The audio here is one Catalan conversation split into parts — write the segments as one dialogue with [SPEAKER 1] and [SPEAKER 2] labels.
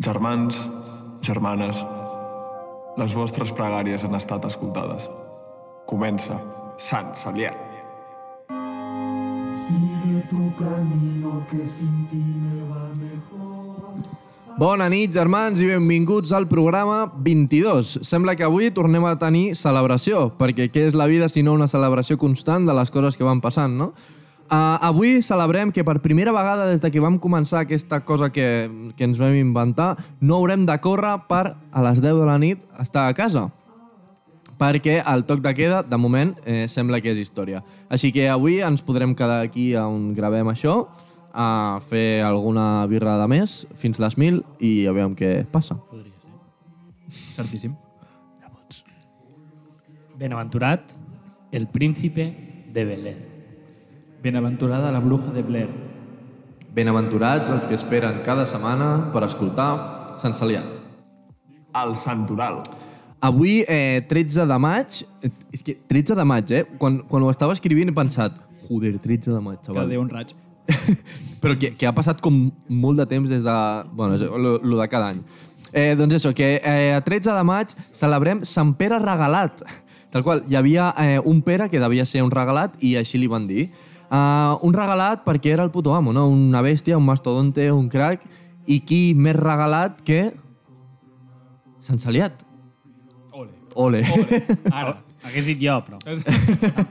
[SPEAKER 1] Germans, germanes, les vostres pregàries han estat escoltades. Comença Sant Salià.
[SPEAKER 2] Sigue tu camino que sin ti me va mejor.
[SPEAKER 3] Bona nit, germans, i benvinguts al programa 22. Sembla que avui tornem a tenir celebració, perquè què és la vida si no una celebració constant de les coses que van passant, no? Uh, avui celebrem que per primera vegada des de que vam començar aquesta cosa que, que ens vam inventar, no haurem de córrer per a les 10 de la nit estar a casa perquè el toc de queda, de moment, eh, sembla que és història. Així que avui ens podrem quedar aquí on gravem això, a fer alguna birra de més, fins les 1.000, i a veure què passa.
[SPEAKER 4] Certíssim. Benaventurat, el príncipe de Belén. Benaventurada la bruja de Blair.
[SPEAKER 3] Benaventurats els que esperen cada setmana per escoltar Sant Salià.
[SPEAKER 1] El Santoral.
[SPEAKER 3] Avui, eh, 13 de maig... eh, És que 13 de maig, eh? Quan, quan ho estava escrivint he pensat... Joder, 13 de maig,
[SPEAKER 4] Que
[SPEAKER 3] xaval.
[SPEAKER 4] deu un raig.
[SPEAKER 3] Però que, que ha passat com molt de temps des de... Bueno, és lo, lo de cada any. Eh, doncs això, que eh, a 13 de maig celebrem Sant Pere Regalat. Tal qual, hi havia eh, un Pere que devia ser un regalat i així li van dir. Uh, un regalat perquè era el puto amo, no? Una bèstia, un mastodonte, un crac. I qui més regalat que... Sant Saliat. Ole. Ole.
[SPEAKER 5] Ara, hagués dit jo, però.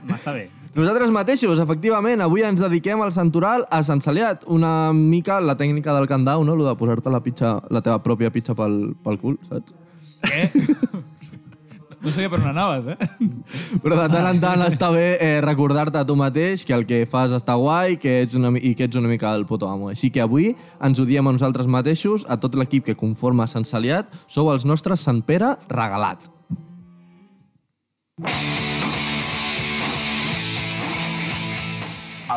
[SPEAKER 5] M'està bé.
[SPEAKER 3] Nosaltres mateixos, efectivament, avui ens dediquem al santoral a Sant Saliat. Una mica la tècnica del candau, no? Lo de posar-te la, pitxa, la teva pròpia pitxa pel, pel cul, saps?
[SPEAKER 4] No sabia per on anaves, eh?
[SPEAKER 3] Però de tant en tant està bé eh, recordar-te a tu mateix que el que fas està guai que ets una, mi- i que ets una mica el puto amo. Així que avui ens ho diem a nosaltres mateixos, a tot l'equip que conforma Sant Saliat, sou els nostres Sant Pere regalat.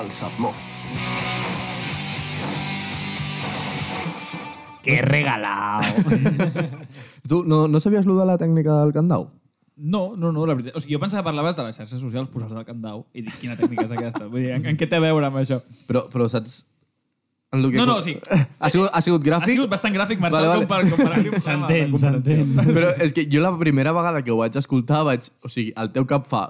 [SPEAKER 1] El Sermó.
[SPEAKER 5] Que regalao.
[SPEAKER 3] Tu no, no sabies lo de la tècnica del candau?
[SPEAKER 4] No, no, no, la veritat. O sigui, jo pensava que parlaves de les xarxes socials, posar-te el candau i dic, quina tècnica és aquesta? Vull dir, en, en què té a veure amb això?
[SPEAKER 3] Però, però saps... En lo que
[SPEAKER 4] No, no, sí.
[SPEAKER 3] Ha sigut, ha sigut
[SPEAKER 4] Ha
[SPEAKER 3] gràfic?
[SPEAKER 4] sigut bastant gràfic, Marcel,
[SPEAKER 3] Vale,
[SPEAKER 4] vale,
[SPEAKER 3] vale.
[SPEAKER 4] vale. com per comparar-li un programa de
[SPEAKER 5] S'entén,
[SPEAKER 4] comparació.
[SPEAKER 5] s'entén.
[SPEAKER 3] Però és que jo la primera vegada que ho vaig escoltar vaig... O sigui, el teu cap fa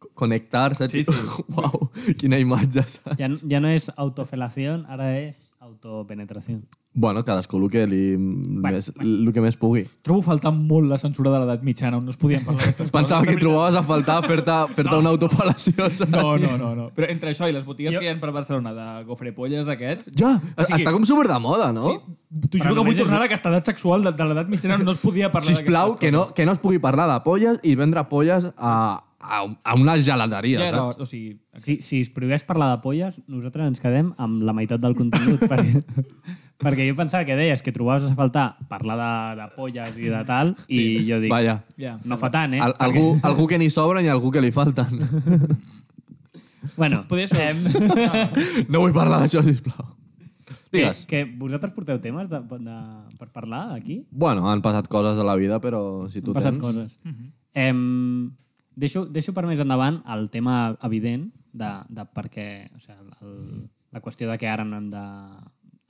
[SPEAKER 3] co- connectar, saps? Sí, sí. Uau, quina imatge, saps?
[SPEAKER 5] Ja, ja no és autofelació, ara és autopenetració.
[SPEAKER 3] Bueno, cadascú el que, li, bueno, més, bueno. que més pugui.
[SPEAKER 4] Trobo faltant molt la censura de l'edat mitjana, on no es podien parlar d'aquestes
[SPEAKER 3] Pensava que trobaves a faltar fer-te fer no. una autofalació, saps?
[SPEAKER 4] No, no, no, no. Però entre això i les botigues jo... que hi ha per Barcelona de gofrepolles aquests...
[SPEAKER 3] Ja, o
[SPEAKER 4] sigui-
[SPEAKER 3] sigui, està com super de moda, no? Sí,
[SPEAKER 4] T'ho
[SPEAKER 5] Però
[SPEAKER 4] juro que vull
[SPEAKER 5] només és-
[SPEAKER 4] tornar a l'edat sexual de, de l'edat mitjana on no es podia parlar
[SPEAKER 3] Sisplau, que no, que no es pugui parlar de polles i vendre polles a, a, a una gelateria,
[SPEAKER 4] Ja era,
[SPEAKER 3] saps?
[SPEAKER 4] o sigui,
[SPEAKER 5] Si, si es prohibeix parlar de polles, nosaltres ens quedem amb la meitat del contingut. perquè, perquè jo pensava que deies que trobaves a faltar parlar de, de polles i de tal, sí. i jo dic...
[SPEAKER 3] Vaja.
[SPEAKER 4] ja.
[SPEAKER 5] No fa tant, eh?
[SPEAKER 3] Al, algú, algú que ni sobren i algú que li falten.
[SPEAKER 5] Bueno,
[SPEAKER 4] Podria ser...
[SPEAKER 3] No vull parlar d'això, sisplau.
[SPEAKER 5] que,
[SPEAKER 3] Digues.
[SPEAKER 5] que vosaltres porteu temes de, de, per parlar aquí?
[SPEAKER 3] Bueno, han passat coses a la vida, però si tu
[SPEAKER 5] Han passat
[SPEAKER 3] tens...
[SPEAKER 5] coses. em, deixo, deixo per més endavant el tema evident de, de per què... O sigui, el, la qüestió de que ara no hem de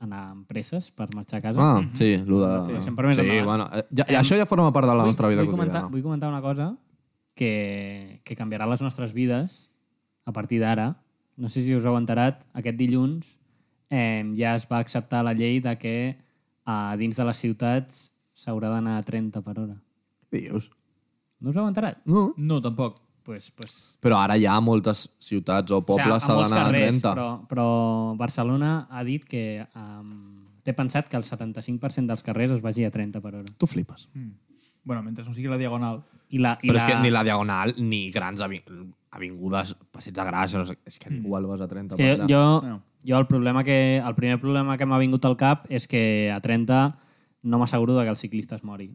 [SPEAKER 5] anar a empreses per marxar a casa.
[SPEAKER 3] Ah, sí, lo de...
[SPEAKER 5] Mhm. Sí, deixem per més
[SPEAKER 3] sí,
[SPEAKER 5] endavant.
[SPEAKER 3] bueno, eh, ja, ja, això ja forma part de la nostra vida
[SPEAKER 5] vull, comentar,
[SPEAKER 3] quotidiana.
[SPEAKER 5] vull comentar una cosa que, que canviarà les nostres vides a partir d'ara. No sé si us heu enterat, aquest dilluns eh, ja es va acceptar la llei de que a dins de les ciutats s'haurà d'anar a 30 per hora.
[SPEAKER 3] Què dius?
[SPEAKER 5] No us heu enterat?
[SPEAKER 3] No.
[SPEAKER 4] No, tampoc.
[SPEAKER 5] Pues, pues,
[SPEAKER 3] Però ara ja a moltes ciutats o
[SPEAKER 5] a
[SPEAKER 3] pobles s'ha
[SPEAKER 5] molts
[SPEAKER 3] d'anar a
[SPEAKER 5] carrers,
[SPEAKER 3] 30.
[SPEAKER 5] Però, però Barcelona ha dit que um, té pensat que el 75% dels carrers es vagi a 30 per hora.
[SPEAKER 3] Tu flipes.
[SPEAKER 4] Hmm. Bueno, mentre no sigui la diagonal.
[SPEAKER 5] I la, i
[SPEAKER 3] Però és que ni la Diagonal ni grans avi avingudes, passeig de gràcia, no sé, és que igual vas a 30
[SPEAKER 5] Mm. És que jo,
[SPEAKER 3] allà.
[SPEAKER 5] jo,
[SPEAKER 4] No.
[SPEAKER 5] jo el, problema que, el primer problema que m'ha vingut al cap és que a 30 no m'asseguro de que el ciclista es mori.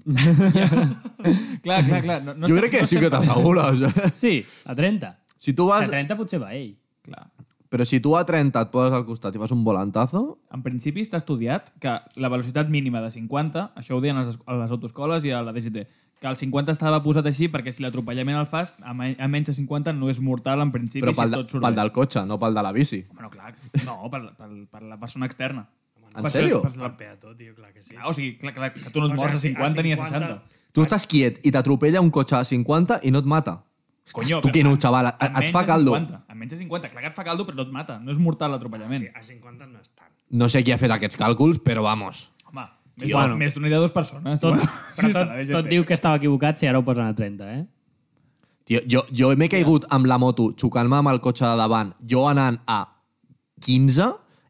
[SPEAKER 4] Clar, clar, clar. No, no
[SPEAKER 3] jo
[SPEAKER 4] estem-
[SPEAKER 3] crec que
[SPEAKER 4] no
[SPEAKER 3] sí que
[SPEAKER 4] estem-
[SPEAKER 3] t'assegures. eh?
[SPEAKER 5] Sí, a 30.
[SPEAKER 3] Si tu
[SPEAKER 5] A
[SPEAKER 3] vas...
[SPEAKER 5] 30 potser va ell.
[SPEAKER 4] Clar.
[SPEAKER 3] Però si tu a 30 et poses al costat i fas un volantazo...
[SPEAKER 4] En principi està estudiat que la velocitat mínima de 50, això ho deien a les, a les autoscoles i a la DGT, que el 50 estava posat així perquè si l'atropellament el fas, a, me- a menys de 50 no és mortal en principi
[SPEAKER 3] Però
[SPEAKER 4] si
[SPEAKER 3] pel, de,
[SPEAKER 4] tot surt
[SPEAKER 3] pel
[SPEAKER 4] bé.
[SPEAKER 3] del cotxe, no pel de la bici.
[SPEAKER 4] Bueno, clar, no, per, per, per la persona externa.
[SPEAKER 3] Ah, En
[SPEAKER 4] Per
[SPEAKER 3] sèrio?
[SPEAKER 4] Per la...
[SPEAKER 6] El peató, tio, clar que sí.
[SPEAKER 4] Clar, o sigui, clar, clar, que tu no et
[SPEAKER 6] O
[SPEAKER 4] mors a
[SPEAKER 6] sigui, a
[SPEAKER 4] 50 ni a
[SPEAKER 6] 50.
[SPEAKER 4] 60.
[SPEAKER 3] Tu estàs quiet i t'atropella un cotxe a 50 i no et mata.
[SPEAKER 4] Coño,
[SPEAKER 3] Estàs tuquino, xaval. Et, et
[SPEAKER 4] menys
[SPEAKER 3] fa
[SPEAKER 4] de
[SPEAKER 3] caldo.
[SPEAKER 4] 50, a menys de 50. Clar que et fa caldo, però no et mata. No és mortal l'atropellament.
[SPEAKER 6] Sí, a 50 no és tant.
[SPEAKER 3] No sé qui ha fet aquests càlculs, però vamos.
[SPEAKER 4] Home, més,
[SPEAKER 5] Tio.
[SPEAKER 4] bueno.
[SPEAKER 5] ah, Bueno.
[SPEAKER 4] més d'una idea de dues persones.
[SPEAKER 5] Tot,
[SPEAKER 4] Bueno,
[SPEAKER 5] però
[SPEAKER 4] sí,
[SPEAKER 5] tot,
[SPEAKER 4] està bé,
[SPEAKER 5] tot
[SPEAKER 4] gente.
[SPEAKER 5] diu que estava equivocat si ara ho posen a 30, eh?
[SPEAKER 3] Tio, jo, jo m'he caigut amb la moto, xocant-me amb el cotxe de davant, jo anant a 15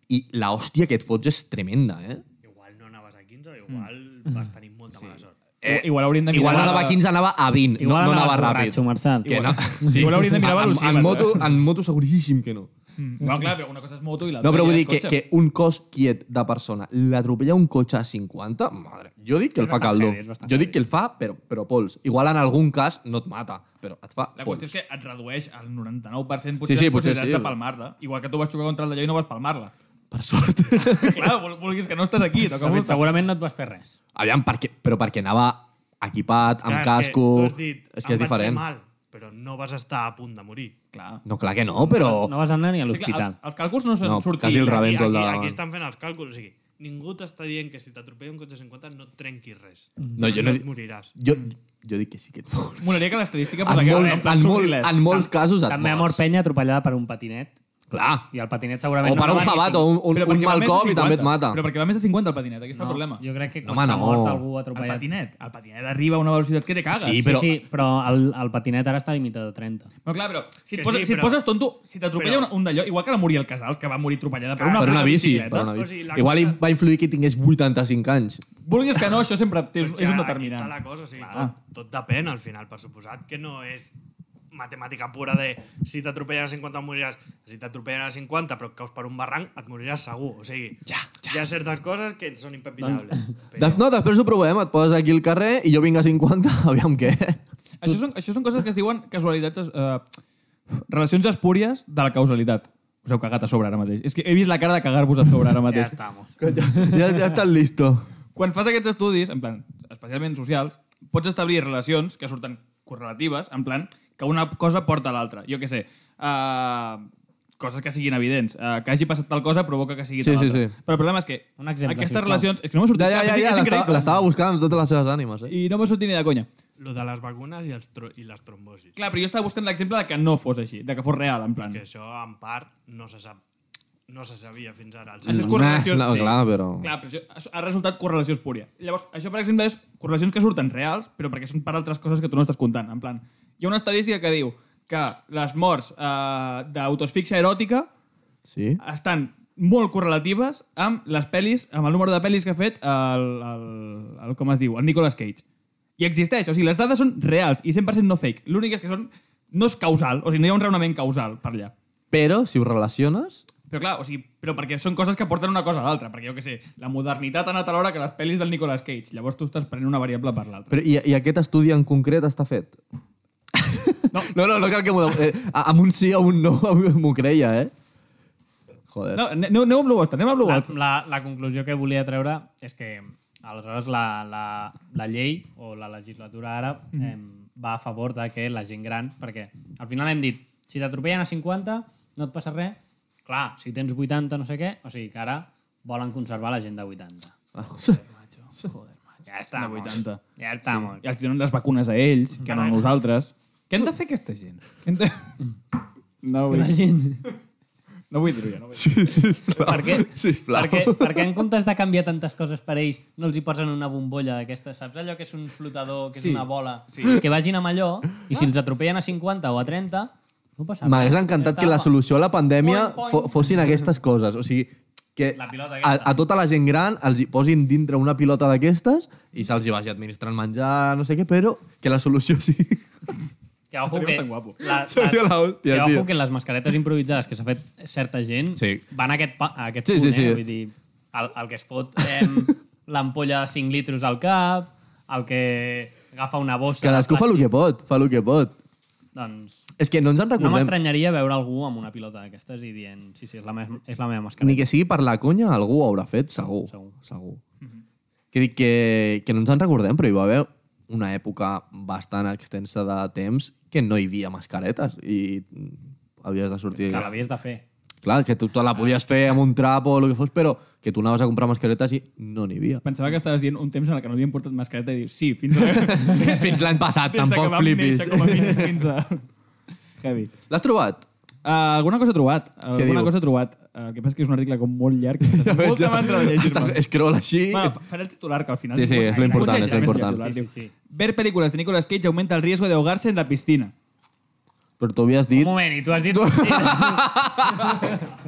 [SPEAKER 3] i la hòstia que et fots és tremenda, eh?
[SPEAKER 6] Igual no anaves a
[SPEAKER 3] Mm.
[SPEAKER 6] 15, igual vas tenir molta mala sort.
[SPEAKER 4] Eh, igual hauríem de mirar...
[SPEAKER 3] Igual no anava a 15, anava a 20.
[SPEAKER 5] Igual
[SPEAKER 3] no, no
[SPEAKER 5] anaves
[SPEAKER 3] anava ràpid.
[SPEAKER 5] borratxo, Marçal.
[SPEAKER 3] Que no.
[SPEAKER 4] Sí. Igual hauríem de mirar
[SPEAKER 3] en,
[SPEAKER 4] velocímetre. eh?
[SPEAKER 3] en, moto, en moto seguríssim que no.
[SPEAKER 4] Mm. No, clar, però una cosa és moto i l'altra...
[SPEAKER 3] No, però
[SPEAKER 4] ja
[SPEAKER 3] vull dir
[SPEAKER 4] és
[SPEAKER 3] que,
[SPEAKER 4] cotxe.
[SPEAKER 3] que un cos quiet de persona l'atropella un cotxe a 50, madre, jo dic que el
[SPEAKER 5] És
[SPEAKER 3] fa
[SPEAKER 5] bastant
[SPEAKER 3] caldo.
[SPEAKER 5] heavy, és bastant
[SPEAKER 3] Jo dic
[SPEAKER 5] heavy.
[SPEAKER 3] que el fa, però, però pols. Igual en algun cas no et mata, però et fa
[SPEAKER 4] La
[SPEAKER 3] pols.
[SPEAKER 4] qüestió és que et redueix al 99%
[SPEAKER 3] Sí, sí,
[SPEAKER 4] potser sí, sí, les
[SPEAKER 3] potser
[SPEAKER 4] possibilitats
[SPEAKER 3] sí.
[SPEAKER 4] de palmar-la. Igual que tu vas xocar contra el d'allò i no vas palmar-la.
[SPEAKER 3] Per sort.
[SPEAKER 4] clar, vol- vulguis que no estàs aquí. Toca
[SPEAKER 5] Segurament,
[SPEAKER 4] multa.
[SPEAKER 5] segurament no et vas fer res.
[SPEAKER 3] Aviam, perquè, però perquè anava equipat, amb
[SPEAKER 6] Clar,
[SPEAKER 3] casco...
[SPEAKER 6] És que, tu has dit,
[SPEAKER 3] és que
[SPEAKER 6] "Em
[SPEAKER 3] és
[SPEAKER 6] vaig fer
[SPEAKER 3] diferent.
[SPEAKER 6] Mal, però no vas estar a punt de morir.
[SPEAKER 4] Clar.
[SPEAKER 3] No, clar que no, però...
[SPEAKER 5] No vas anar ni a
[SPEAKER 4] O sigui, clar,
[SPEAKER 5] l'hospital.
[SPEAKER 4] els, els càlculs no són
[SPEAKER 3] No,
[SPEAKER 4] no, sortir.
[SPEAKER 3] quasi el
[SPEAKER 6] Aquí-
[SPEAKER 3] rebento al
[SPEAKER 6] aquí,
[SPEAKER 3] davant.
[SPEAKER 6] aquí estan fent els càlculs, o sigui, ningú t'està dient que si t'atropella un cotxe de 50 no et trenquis res.
[SPEAKER 3] No, jo no
[SPEAKER 6] et
[SPEAKER 3] dic-
[SPEAKER 6] moriràs.
[SPEAKER 3] Jo, jo dic que sí que et mors.
[SPEAKER 4] Molaria que eh, l'estadística
[SPEAKER 3] En,
[SPEAKER 4] fos aquesta.
[SPEAKER 3] molts, en, molt, en molts casos et
[SPEAKER 5] També ha mort
[SPEAKER 3] mors.
[SPEAKER 5] penya atropellada per un patinet.
[SPEAKER 3] Clar.
[SPEAKER 5] I el patinet segurament...
[SPEAKER 3] O per
[SPEAKER 5] no
[SPEAKER 3] un
[SPEAKER 5] va ni
[SPEAKER 3] jabat o
[SPEAKER 5] com-
[SPEAKER 3] un, un,
[SPEAKER 4] Però
[SPEAKER 3] un
[SPEAKER 4] perquè va
[SPEAKER 3] mal
[SPEAKER 4] més de
[SPEAKER 3] cop i
[SPEAKER 4] 50.
[SPEAKER 3] també et mata.
[SPEAKER 4] Però perquè va més de 50 el patinet, aquí està el problema.
[SPEAKER 5] Jo crec que
[SPEAKER 3] No, home,
[SPEAKER 5] quan s'ha
[SPEAKER 3] no.
[SPEAKER 5] mort algú
[SPEAKER 4] El
[SPEAKER 5] atropellat...
[SPEAKER 4] patinet, el patinet arriba a una velocitat que te cagues.
[SPEAKER 3] Sí,
[SPEAKER 5] Però...
[SPEAKER 3] Però-
[SPEAKER 5] Sí, sí, però el, el patinet ara està limitat a 30.
[SPEAKER 4] Però clar, però si et,
[SPEAKER 6] Que
[SPEAKER 4] poses,
[SPEAKER 6] sí,
[SPEAKER 4] si et
[SPEAKER 6] però-
[SPEAKER 4] poses tonto, si t'atropella
[SPEAKER 6] però-
[SPEAKER 4] però... un d'allò, igual que la Muriel Casals, que va morir atropellada per
[SPEAKER 6] Clar,
[SPEAKER 4] una,
[SPEAKER 3] Per una
[SPEAKER 4] puta
[SPEAKER 3] bici.
[SPEAKER 4] bicicleta,
[SPEAKER 3] Per una
[SPEAKER 6] O
[SPEAKER 3] bici.
[SPEAKER 6] sigui, la
[SPEAKER 3] Igual hi
[SPEAKER 6] cosa- va
[SPEAKER 3] va influir que tingués 85 anys.
[SPEAKER 4] Vulguis que no, això sempre té, és,
[SPEAKER 6] Però
[SPEAKER 4] és un
[SPEAKER 6] que
[SPEAKER 4] determinant.
[SPEAKER 6] Aquí està la cosa, o sigui,
[SPEAKER 4] Clar.
[SPEAKER 6] tot, tot depèn al final, per suposat, que no és matemàtica pura de si t'atropellen a 50 moriràs, si t'atropellen a 50 però caus per un barranc et moriràs segur, o sigui, ja, ja. hi ha certes coses que són impepinables. Doncs...
[SPEAKER 3] De, no, després ho provem, et poses aquí al carrer i jo vinc a 50, aviam què.
[SPEAKER 4] Això, són, això són coses que es diuen casualitats... Eh, relacions espúries de la causalitat. Us heu cagat a sobre ara mateix. És que he vist la cara de cagar-vos a sobre ara mateix.
[SPEAKER 5] estamos.
[SPEAKER 3] Ja, ja estàs listo.
[SPEAKER 4] Quan fas aquests estudis, en plan, especialment socials, pots establir relacions que surten correlatives, en plan, que una cosa porta a l'altra. Jo què sé, uh, coses que siguin evidents. Uh, que hagi passat tal cosa provoca que sigui
[SPEAKER 3] Sí,
[SPEAKER 4] tal
[SPEAKER 3] sí,
[SPEAKER 4] altra.
[SPEAKER 3] sí.
[SPEAKER 4] Però el problema és que
[SPEAKER 5] Un exemple,
[SPEAKER 4] aquestes
[SPEAKER 5] sisplau.
[SPEAKER 4] relacions... És que no m'ha sortit
[SPEAKER 3] Ja, ja,
[SPEAKER 4] cap,
[SPEAKER 3] ja,
[SPEAKER 4] és
[SPEAKER 3] ja l'estava
[SPEAKER 4] increïble.
[SPEAKER 3] l'estava buscant amb totes les seves ànimes. Eh?
[SPEAKER 4] I no m'ha sortit ni de conya.
[SPEAKER 6] Lo de les vacunes i, els tro i les trombosis.
[SPEAKER 4] Clar, però jo estava buscant l'exemple de que no fos així, de que fos real, en plan.
[SPEAKER 6] Que això, en part, no se sap no se sabia fins ara. Els
[SPEAKER 4] Això és
[SPEAKER 3] Nah,
[SPEAKER 4] correlació...
[SPEAKER 3] no, clar, però-
[SPEAKER 4] Clar, però això, això ha resultat correlació espúria. Llavors, això, per exemple, és correlacions que surten reals, però perquè són per altres coses que tu no estàs comptant. En plan, hi ha una estadística que diu que les morts eh, d'autosfixia eròtica
[SPEAKER 3] Sí?
[SPEAKER 4] estan molt correlatives amb les pel·lis, amb el número de pel·lis que ha fet el, el, el com es diu, el Nicolas Cage. I existeix, o sigui, les dades són reals i 100% no fake. L'únic és que són, no és causal, o sigui, no hi ha un raonament causal per allà.
[SPEAKER 3] Però, si ho relaciones...
[SPEAKER 4] Però clar, o sigui, però perquè són coses que porten una cosa a l'altra, perquè jo què sé, la modernitat ha anat a l'hora que les pel·lis del Nicolas Cage, llavors tu estàs prenent una variable per l'altra.
[SPEAKER 3] Però, i, I aquest estudi en concret està fet? No, no, no, no cal que m'ho... de- Eh, a- amb un sí o un no m'ho creia, eh? Joder.
[SPEAKER 4] No, ane- aneu, aneu amb l'Ubosta, anem amb
[SPEAKER 5] La,
[SPEAKER 4] l'Ubosta.
[SPEAKER 5] la, la conclusió que volia treure és que aleshores la, la, la llei o la legislatura ara eh, va a favor de que la gent gran... Perquè al final hem dit, si t'atropellen a 50 no et passa res. Clar, si tens 80 no sé què, o sigui que ara volen conservar la gent de 80.
[SPEAKER 3] Ah.
[SPEAKER 5] Ja està.
[SPEAKER 4] De 80.
[SPEAKER 5] Ja està, sí.
[SPEAKER 4] I els donen les vacunes a ells, que no a nosaltres. Què han de fer aquesta gent? Què han de... No vull,
[SPEAKER 5] La gent...
[SPEAKER 4] no vull dir-ho ja, no vull dir
[SPEAKER 3] Sí, sisplau.
[SPEAKER 5] Per què?
[SPEAKER 3] Sisplau.
[SPEAKER 5] Perquè, perquè en comptes de canviar tantes coses per ells, no els hi posen una bombolla d'aquestes, saps? Allò que és un flotador, que és
[SPEAKER 4] Sí.
[SPEAKER 5] una bola, sí. que vagin amb allò, i si els atropellen a 50 o a 30, no passa res.
[SPEAKER 3] M'hagués encantat que la solució a la pandèmia
[SPEAKER 5] Poing,
[SPEAKER 3] fo
[SPEAKER 5] poing.
[SPEAKER 3] fossin aquestes coses. O sigui, que
[SPEAKER 5] La
[SPEAKER 3] a,
[SPEAKER 5] pilota aquesta.
[SPEAKER 3] a tota la gent gran els hi posin dintre una pilota d'aquestes i se'ls hi vagi administrant menjar, no sé què, però que la solució sigui...
[SPEAKER 5] Que ojo que,
[SPEAKER 4] Estaria bastant guapo.
[SPEAKER 5] la,
[SPEAKER 3] Seria la hòstia,
[SPEAKER 5] que,
[SPEAKER 3] tio.
[SPEAKER 5] ojo que les mascaretes improvisades que s'ha fet certa gent
[SPEAKER 3] Sí.
[SPEAKER 5] van a aquest, pa, a aquest
[SPEAKER 3] Sí,
[SPEAKER 5] punt,
[SPEAKER 3] sí, sí.
[SPEAKER 5] eh? Vull dir, el, el que es fot eh, l'ampolla de 5 litros al cap, el que agafa una bossa...
[SPEAKER 3] Cadascú
[SPEAKER 5] de
[SPEAKER 3] fa el
[SPEAKER 5] plàstic.
[SPEAKER 3] que pot, fa el que pot.
[SPEAKER 5] Doncs,
[SPEAKER 3] És que no ens en
[SPEAKER 5] No
[SPEAKER 3] recordem.
[SPEAKER 5] m'estranyaria veure algú amb una pilota d'aquestes i dient, sí, sí, és la, me és la meva mascareta.
[SPEAKER 3] Ni que sigui per la conya, algú ho haurà fet, segur.
[SPEAKER 5] Segur. Mhm.
[SPEAKER 3] segur. Que dic que, que no ens en recordem, però hi va haver una època bastant extensa de temps que no hi havia mascaretes i havies de sortir...
[SPEAKER 5] Que l'havies de fer.
[SPEAKER 3] Clar, que tu te la podies fer amb un trapo o el que fos, però que tu anaves a comprar mascaretes i no n'hi havia.
[SPEAKER 4] Pensava que estaves dient un temps en el que no havien portat mascareta i dius, sí, fins a... Des
[SPEAKER 3] Fins l'any passat,
[SPEAKER 4] de que
[SPEAKER 3] tampoc
[SPEAKER 4] vam
[SPEAKER 3] flipis.
[SPEAKER 4] néixer com a mínim fins a... Heavy.
[SPEAKER 3] L'has trobat?
[SPEAKER 4] Uh, alguna cosa he trobat. Alguna
[SPEAKER 3] diu?
[SPEAKER 4] cosa he trobat. Uh, el que passa és que és un article com molt llarg. Ja molt de mandra de llegir
[SPEAKER 3] Està- Scroll així...
[SPEAKER 4] Bueno, faré el titular, que al final...
[SPEAKER 3] Sí, sí, és lo important,
[SPEAKER 4] Vull
[SPEAKER 3] és lo
[SPEAKER 4] llegir
[SPEAKER 3] important.
[SPEAKER 4] el titular,
[SPEAKER 5] Sí,
[SPEAKER 4] diu,
[SPEAKER 5] sí, sí.
[SPEAKER 4] Ver películas de Nicolas Cage aumenta el riesgo de ahogarse en la piscina.
[SPEAKER 3] Però t'ho havies
[SPEAKER 5] Un
[SPEAKER 3] dit...
[SPEAKER 5] moment, i tu has dit...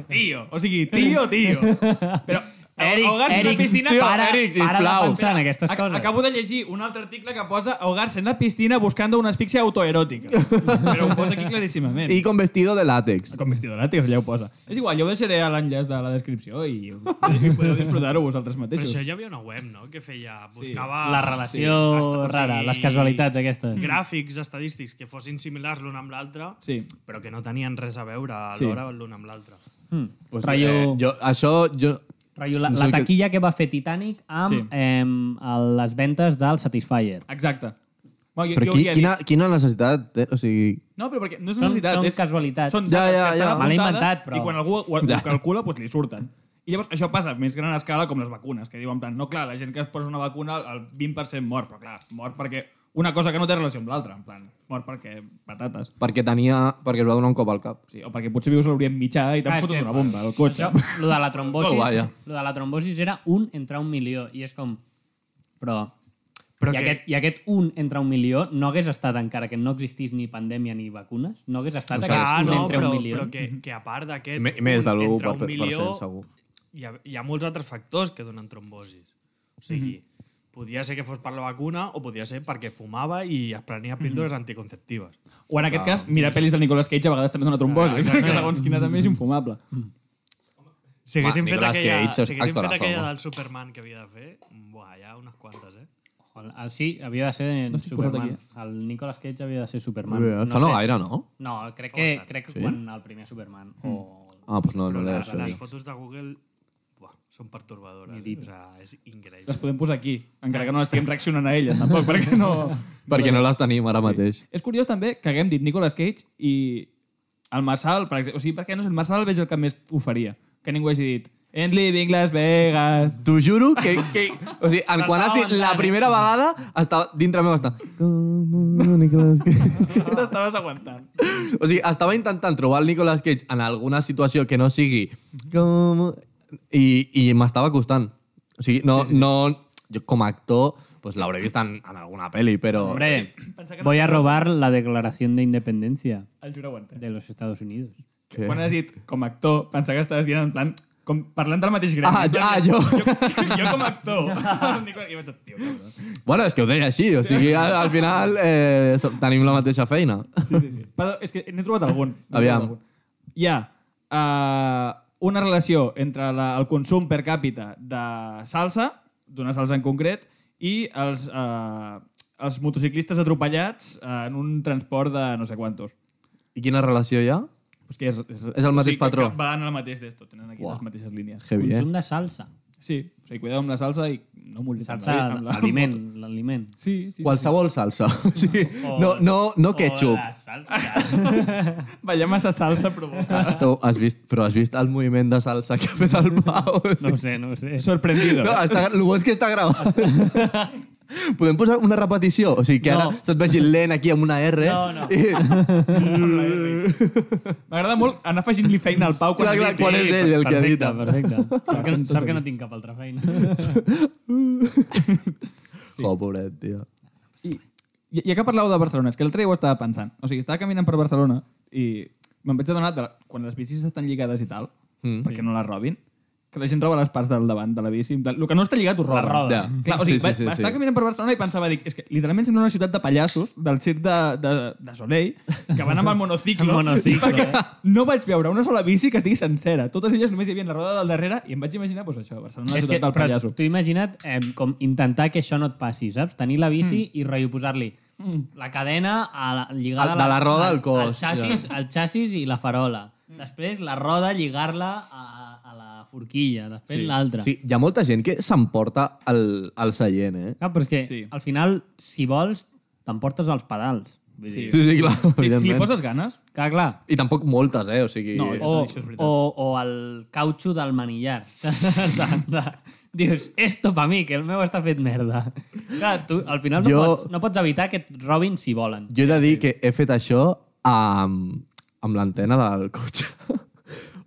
[SPEAKER 4] Tío. O sigui, tío, tío. Però
[SPEAKER 5] Eric,
[SPEAKER 4] ahogar-se en
[SPEAKER 5] Eric,
[SPEAKER 4] la piscina...
[SPEAKER 5] tio, para,
[SPEAKER 3] Eric,
[SPEAKER 5] para de
[SPEAKER 3] sisplau.
[SPEAKER 5] pensar en aquestes
[SPEAKER 4] Ac-
[SPEAKER 5] coses.
[SPEAKER 4] Acabo de llegir un altre article que posa ahogar-se en la piscina buscando una asfixia autoeròtica. Però ho posa aquí claríssimament.
[SPEAKER 3] I con vestido de látex.
[SPEAKER 4] Com vestido làtex, allà ho posa. És igual, jo ho deixaré a l'enllaç de la descripció i, i podeu disfrutar-ho vosaltres
[SPEAKER 6] Però
[SPEAKER 4] mateixos.
[SPEAKER 6] això ja havia una web, no?, que feia... Buscava...
[SPEAKER 4] Ah,
[SPEAKER 5] La relació
[SPEAKER 6] hasta- o
[SPEAKER 5] rara,
[SPEAKER 6] sigui,
[SPEAKER 5] les casualitats aquestes.
[SPEAKER 6] Gràfics estadístics que fossin similars l'un amb l'altre,
[SPEAKER 4] Sí.
[SPEAKER 6] però que no tenien res a veure alhora l'un amb l'altre.
[SPEAKER 5] Mm.
[SPEAKER 3] Pues,
[SPEAKER 5] rotllo,
[SPEAKER 3] eh, jo, això, jo,
[SPEAKER 5] rotllo la,
[SPEAKER 3] no sé
[SPEAKER 5] la
[SPEAKER 3] què-
[SPEAKER 5] taquilla que... va fer Titanic amb
[SPEAKER 4] Sí.
[SPEAKER 5] em, el- les ventes del Satisfyer.
[SPEAKER 4] Exacte. Bueno, jo,
[SPEAKER 3] Però
[SPEAKER 4] jo
[SPEAKER 3] qui,
[SPEAKER 4] hauria
[SPEAKER 3] quina,
[SPEAKER 4] dit-
[SPEAKER 3] quina necessitat té? O sigui,
[SPEAKER 4] No, però perquè no és
[SPEAKER 5] Són-
[SPEAKER 4] necessitat.
[SPEAKER 5] són
[SPEAKER 4] és,
[SPEAKER 5] casualitats.
[SPEAKER 4] Són
[SPEAKER 3] Ja,
[SPEAKER 4] dades
[SPEAKER 3] ja, ja.
[SPEAKER 4] que estan
[SPEAKER 5] Me l'he
[SPEAKER 4] apuntades
[SPEAKER 5] inventat, però-
[SPEAKER 4] I quan algú ho,
[SPEAKER 3] Ja.
[SPEAKER 4] ho calcula, doncs li surten. I llavors això passa a més gran escala com les vacunes, que diuen, en plan, no, clar, la gent que es posa una vacuna, el 20% mor, però clar, mor perquè una cosa que no té relació amb l'altra, en plan, mor perquè patates.
[SPEAKER 3] perquè tenia... Perquè es va donar un cop al cap.
[SPEAKER 4] Sí, o perquè potser vius a l'Orient Mitjà i
[SPEAKER 5] Clar,
[SPEAKER 4] t'han
[SPEAKER 5] Ah, és
[SPEAKER 4] fotut
[SPEAKER 5] que-
[SPEAKER 4] una bomba al cotxe.
[SPEAKER 5] Lo de la trombosis,
[SPEAKER 3] Molt guai, eh?
[SPEAKER 5] lo de la trombosis era un entre un milió i és com però
[SPEAKER 6] Però
[SPEAKER 5] i,
[SPEAKER 6] que-
[SPEAKER 5] aquest, I aquest un entre un milió no hagués estat, encara que no existís ni pandèmia ni vacunes, no hagués estat
[SPEAKER 3] No
[SPEAKER 5] no
[SPEAKER 3] sé,
[SPEAKER 5] aquest
[SPEAKER 6] Clar,
[SPEAKER 5] un
[SPEAKER 6] ah, no,
[SPEAKER 5] entre
[SPEAKER 6] però,
[SPEAKER 5] un milió. Mm-hmm.
[SPEAKER 6] però que, que a part d'aquest...
[SPEAKER 3] I me- i més
[SPEAKER 6] un
[SPEAKER 3] de l'u
[SPEAKER 6] entre
[SPEAKER 3] per-
[SPEAKER 6] un
[SPEAKER 3] per
[SPEAKER 6] milió,
[SPEAKER 3] cent, segur.
[SPEAKER 6] Hi ha, hi ha molts altres factors que donen trombosis. O sigui,
[SPEAKER 5] Mm-hmm.
[SPEAKER 6] podia ser que fos per la vacuna o podia ser perquè fumava i es prenia
[SPEAKER 5] Mm-hmm.
[SPEAKER 6] píldores anticonceptives.
[SPEAKER 4] O en
[SPEAKER 3] Ah,
[SPEAKER 4] aquest cas, mirar pel·lis del Nicolas Cage a vegades també dona trombosi, que segons quina també és infumable.
[SPEAKER 6] Si haguéssim fet
[SPEAKER 3] Nicolas Cage
[SPEAKER 6] aquella,
[SPEAKER 3] és
[SPEAKER 6] si haguéssim fet
[SPEAKER 3] actorazo,
[SPEAKER 6] aquella
[SPEAKER 3] home.
[SPEAKER 6] del Superman que havia de fer, buah, hi ha unes quantes, eh?
[SPEAKER 5] Ojo, el- Sí, havia de ser en
[SPEAKER 4] No estic posat
[SPEAKER 5] Superman.
[SPEAKER 4] aquí,
[SPEAKER 5] El Nicolas Cage havia de ser Superman.
[SPEAKER 3] No Fa no gaire, no?
[SPEAKER 5] No, crec que, crec que quan el primer Superman o...
[SPEAKER 3] Ah, doncs no, no
[SPEAKER 6] Però
[SPEAKER 3] era
[SPEAKER 6] la,
[SPEAKER 3] això.
[SPEAKER 6] les
[SPEAKER 3] dic.
[SPEAKER 6] fotos de Google buah, són pertorbadores.
[SPEAKER 5] Ni
[SPEAKER 6] Eh?
[SPEAKER 5] dit.
[SPEAKER 6] O sigui, és increïble.
[SPEAKER 4] Les podem posar aquí, encara que no estiguem reaccionant a elles, tampoc, perquè no...
[SPEAKER 3] Perquè no les tenim ara mateix.
[SPEAKER 4] És curiós també que haguem dit Nicolas Cage i el Marçal, per exemple, o sigui, perquè no sé, el Marçal el veig el que més ho faria, que ningú hagi dit And living Las Vegas.
[SPEAKER 3] T'ho juro que... que o sigui, en quan has dit la primera vegada, estava, dintre meu estava...
[SPEAKER 4] Tu t'estaves aguantant.
[SPEAKER 3] O sigui, estava intentant trobar el Nicolas Cage en alguna situació que no sigui... Com... I, i m'estava costant. O sigui, no... no jo com a actor pues, l'hauré vist en, en alguna pel·li, però...
[SPEAKER 5] Hombre,
[SPEAKER 4] Pensar que no
[SPEAKER 5] voy a
[SPEAKER 4] tindràs-
[SPEAKER 5] robar la declaración de independencia
[SPEAKER 4] El juro aguanta.
[SPEAKER 5] de los Estados Unidos.
[SPEAKER 3] Sí.
[SPEAKER 4] Quan has dit com a actor, pensar que estaves dient en plan com parlant del mateix gremi.
[SPEAKER 3] Ah, ah, jo...
[SPEAKER 4] jo com a actor. Nicolas- I vaig dir, tio, cabrón.
[SPEAKER 3] bueno, és que ho deia així, o sigui, al, al final eh, som- tenim la mateixa feina.
[SPEAKER 4] Sí, sí, sí. Perdó, és que n'he trobat algun. N'he
[SPEAKER 3] Aviam.
[SPEAKER 4] trobat algun. Hi ha uh, una relació entre la, el consum per càpita de salsa, d'una salsa en concret, i els, uh, els motociclistes atropellats uh, en un transport de no sé quantos.
[SPEAKER 3] I quina relació hi ha?
[SPEAKER 4] Pues que és, és,
[SPEAKER 3] És el mateix
[SPEAKER 4] o sigui, que-
[SPEAKER 3] patró.
[SPEAKER 4] Que van al mateix d'esto, tenen aquí
[SPEAKER 3] Uah.
[SPEAKER 4] les mateixes línies.
[SPEAKER 3] Heavy, eh?
[SPEAKER 5] Consum de salsa.
[SPEAKER 4] Sí, o sigui, cuideu amb la salsa i no mullis amb
[SPEAKER 5] Salsa,
[SPEAKER 4] la- amb la-
[SPEAKER 5] aliment, l'aliment.
[SPEAKER 4] Sí, sí, Oh. sí,
[SPEAKER 3] Qualsevol salsa. O sigui, no, no, no ketchup.
[SPEAKER 4] sí. Ballar massa salsa provoca.
[SPEAKER 3] Ah, Tu has vist, però has vist el moviment de salsa que ha fet el Pau?
[SPEAKER 5] No ho sé, no ho sé.
[SPEAKER 4] Sorprendido.
[SPEAKER 3] No, està, el bo és que està gravat. Podem posar una repetició? O sigui, que ara
[SPEAKER 5] No.
[SPEAKER 3] se't vegi lent aquí amb una R.
[SPEAKER 5] No, no.
[SPEAKER 3] I,
[SPEAKER 4] M'agrada molt anar afegint-li feina al Pau quan,
[SPEAKER 3] clar, clar,
[SPEAKER 4] edita.
[SPEAKER 3] quan és ell el que
[SPEAKER 5] perfecte,
[SPEAKER 3] edita.
[SPEAKER 5] perfecte. Sap que, sap que no tinc cap altra feina.
[SPEAKER 3] Sí. Oh, pobret, tio.
[SPEAKER 4] I, i ja que parlàveu de Barcelona, és que l'altre dia ho estava pensant. O sigui, estava caminant per Barcelona i me'n vaig adonar, de la, quan les bicis estan lligades i tal, mm, perquè no les robin, que la gent roba les parts del davant de la bici. en plan, El que no està lligat ho roba.
[SPEAKER 5] Les rodes.
[SPEAKER 3] Ja.
[SPEAKER 4] Oh. Clar, o sigui,
[SPEAKER 3] Sí, sí,
[SPEAKER 4] sí,
[SPEAKER 3] sí,
[SPEAKER 4] sí, va,
[SPEAKER 3] sí.
[SPEAKER 4] estava caminant per Barcelona i pensava, dic, és que literalment sembla una ciutat de pallassos del circ de, de, de Soleil que van amb el monociclo,
[SPEAKER 5] Amb monociclo,
[SPEAKER 4] perquè
[SPEAKER 5] eh?
[SPEAKER 4] no vaig veure una sola bici que estigui sencera. Totes elles només hi havia la roda del darrere i em vaig imaginar, doncs això, Barcelona, la
[SPEAKER 5] És
[SPEAKER 4] ciutat del
[SPEAKER 5] però
[SPEAKER 4] pallasso.
[SPEAKER 5] Tu imagina't eh, com intentar que això no et passi, saps? Tenir la bici mm. i rotllo posar-li la cadena a la, lligada...
[SPEAKER 3] Mm. Al- de la roda al cos, Mm.
[SPEAKER 5] El xassis, el xassis i la farola. Després la roda lligar-la a, a la forquilla. Després sí. l'altra.
[SPEAKER 3] Sí, hi ha molta gent que s'emporta el, el seient, eh?
[SPEAKER 5] Clar, Ah, però és que
[SPEAKER 4] Sí.
[SPEAKER 5] al final, si vols, t'emportes els pedals. Vull dir,
[SPEAKER 3] Sí, sí, clar.
[SPEAKER 4] Si, si li
[SPEAKER 7] Evidentment.
[SPEAKER 4] poses ganes,
[SPEAKER 5] Clar, clar.
[SPEAKER 3] I tampoc moltes, eh? O sigui...
[SPEAKER 4] No,
[SPEAKER 5] O,
[SPEAKER 4] Això és veritat.
[SPEAKER 5] o, o el cautxo del manillar. De- de- Dius, esto pa mi, que el meu està fet merda. Clar, tu al final no,
[SPEAKER 3] Jo-
[SPEAKER 5] pots, no pots evitar que et robin si volen.
[SPEAKER 3] Jo he de dir que he fet això amb, amb l'antena del cotxe.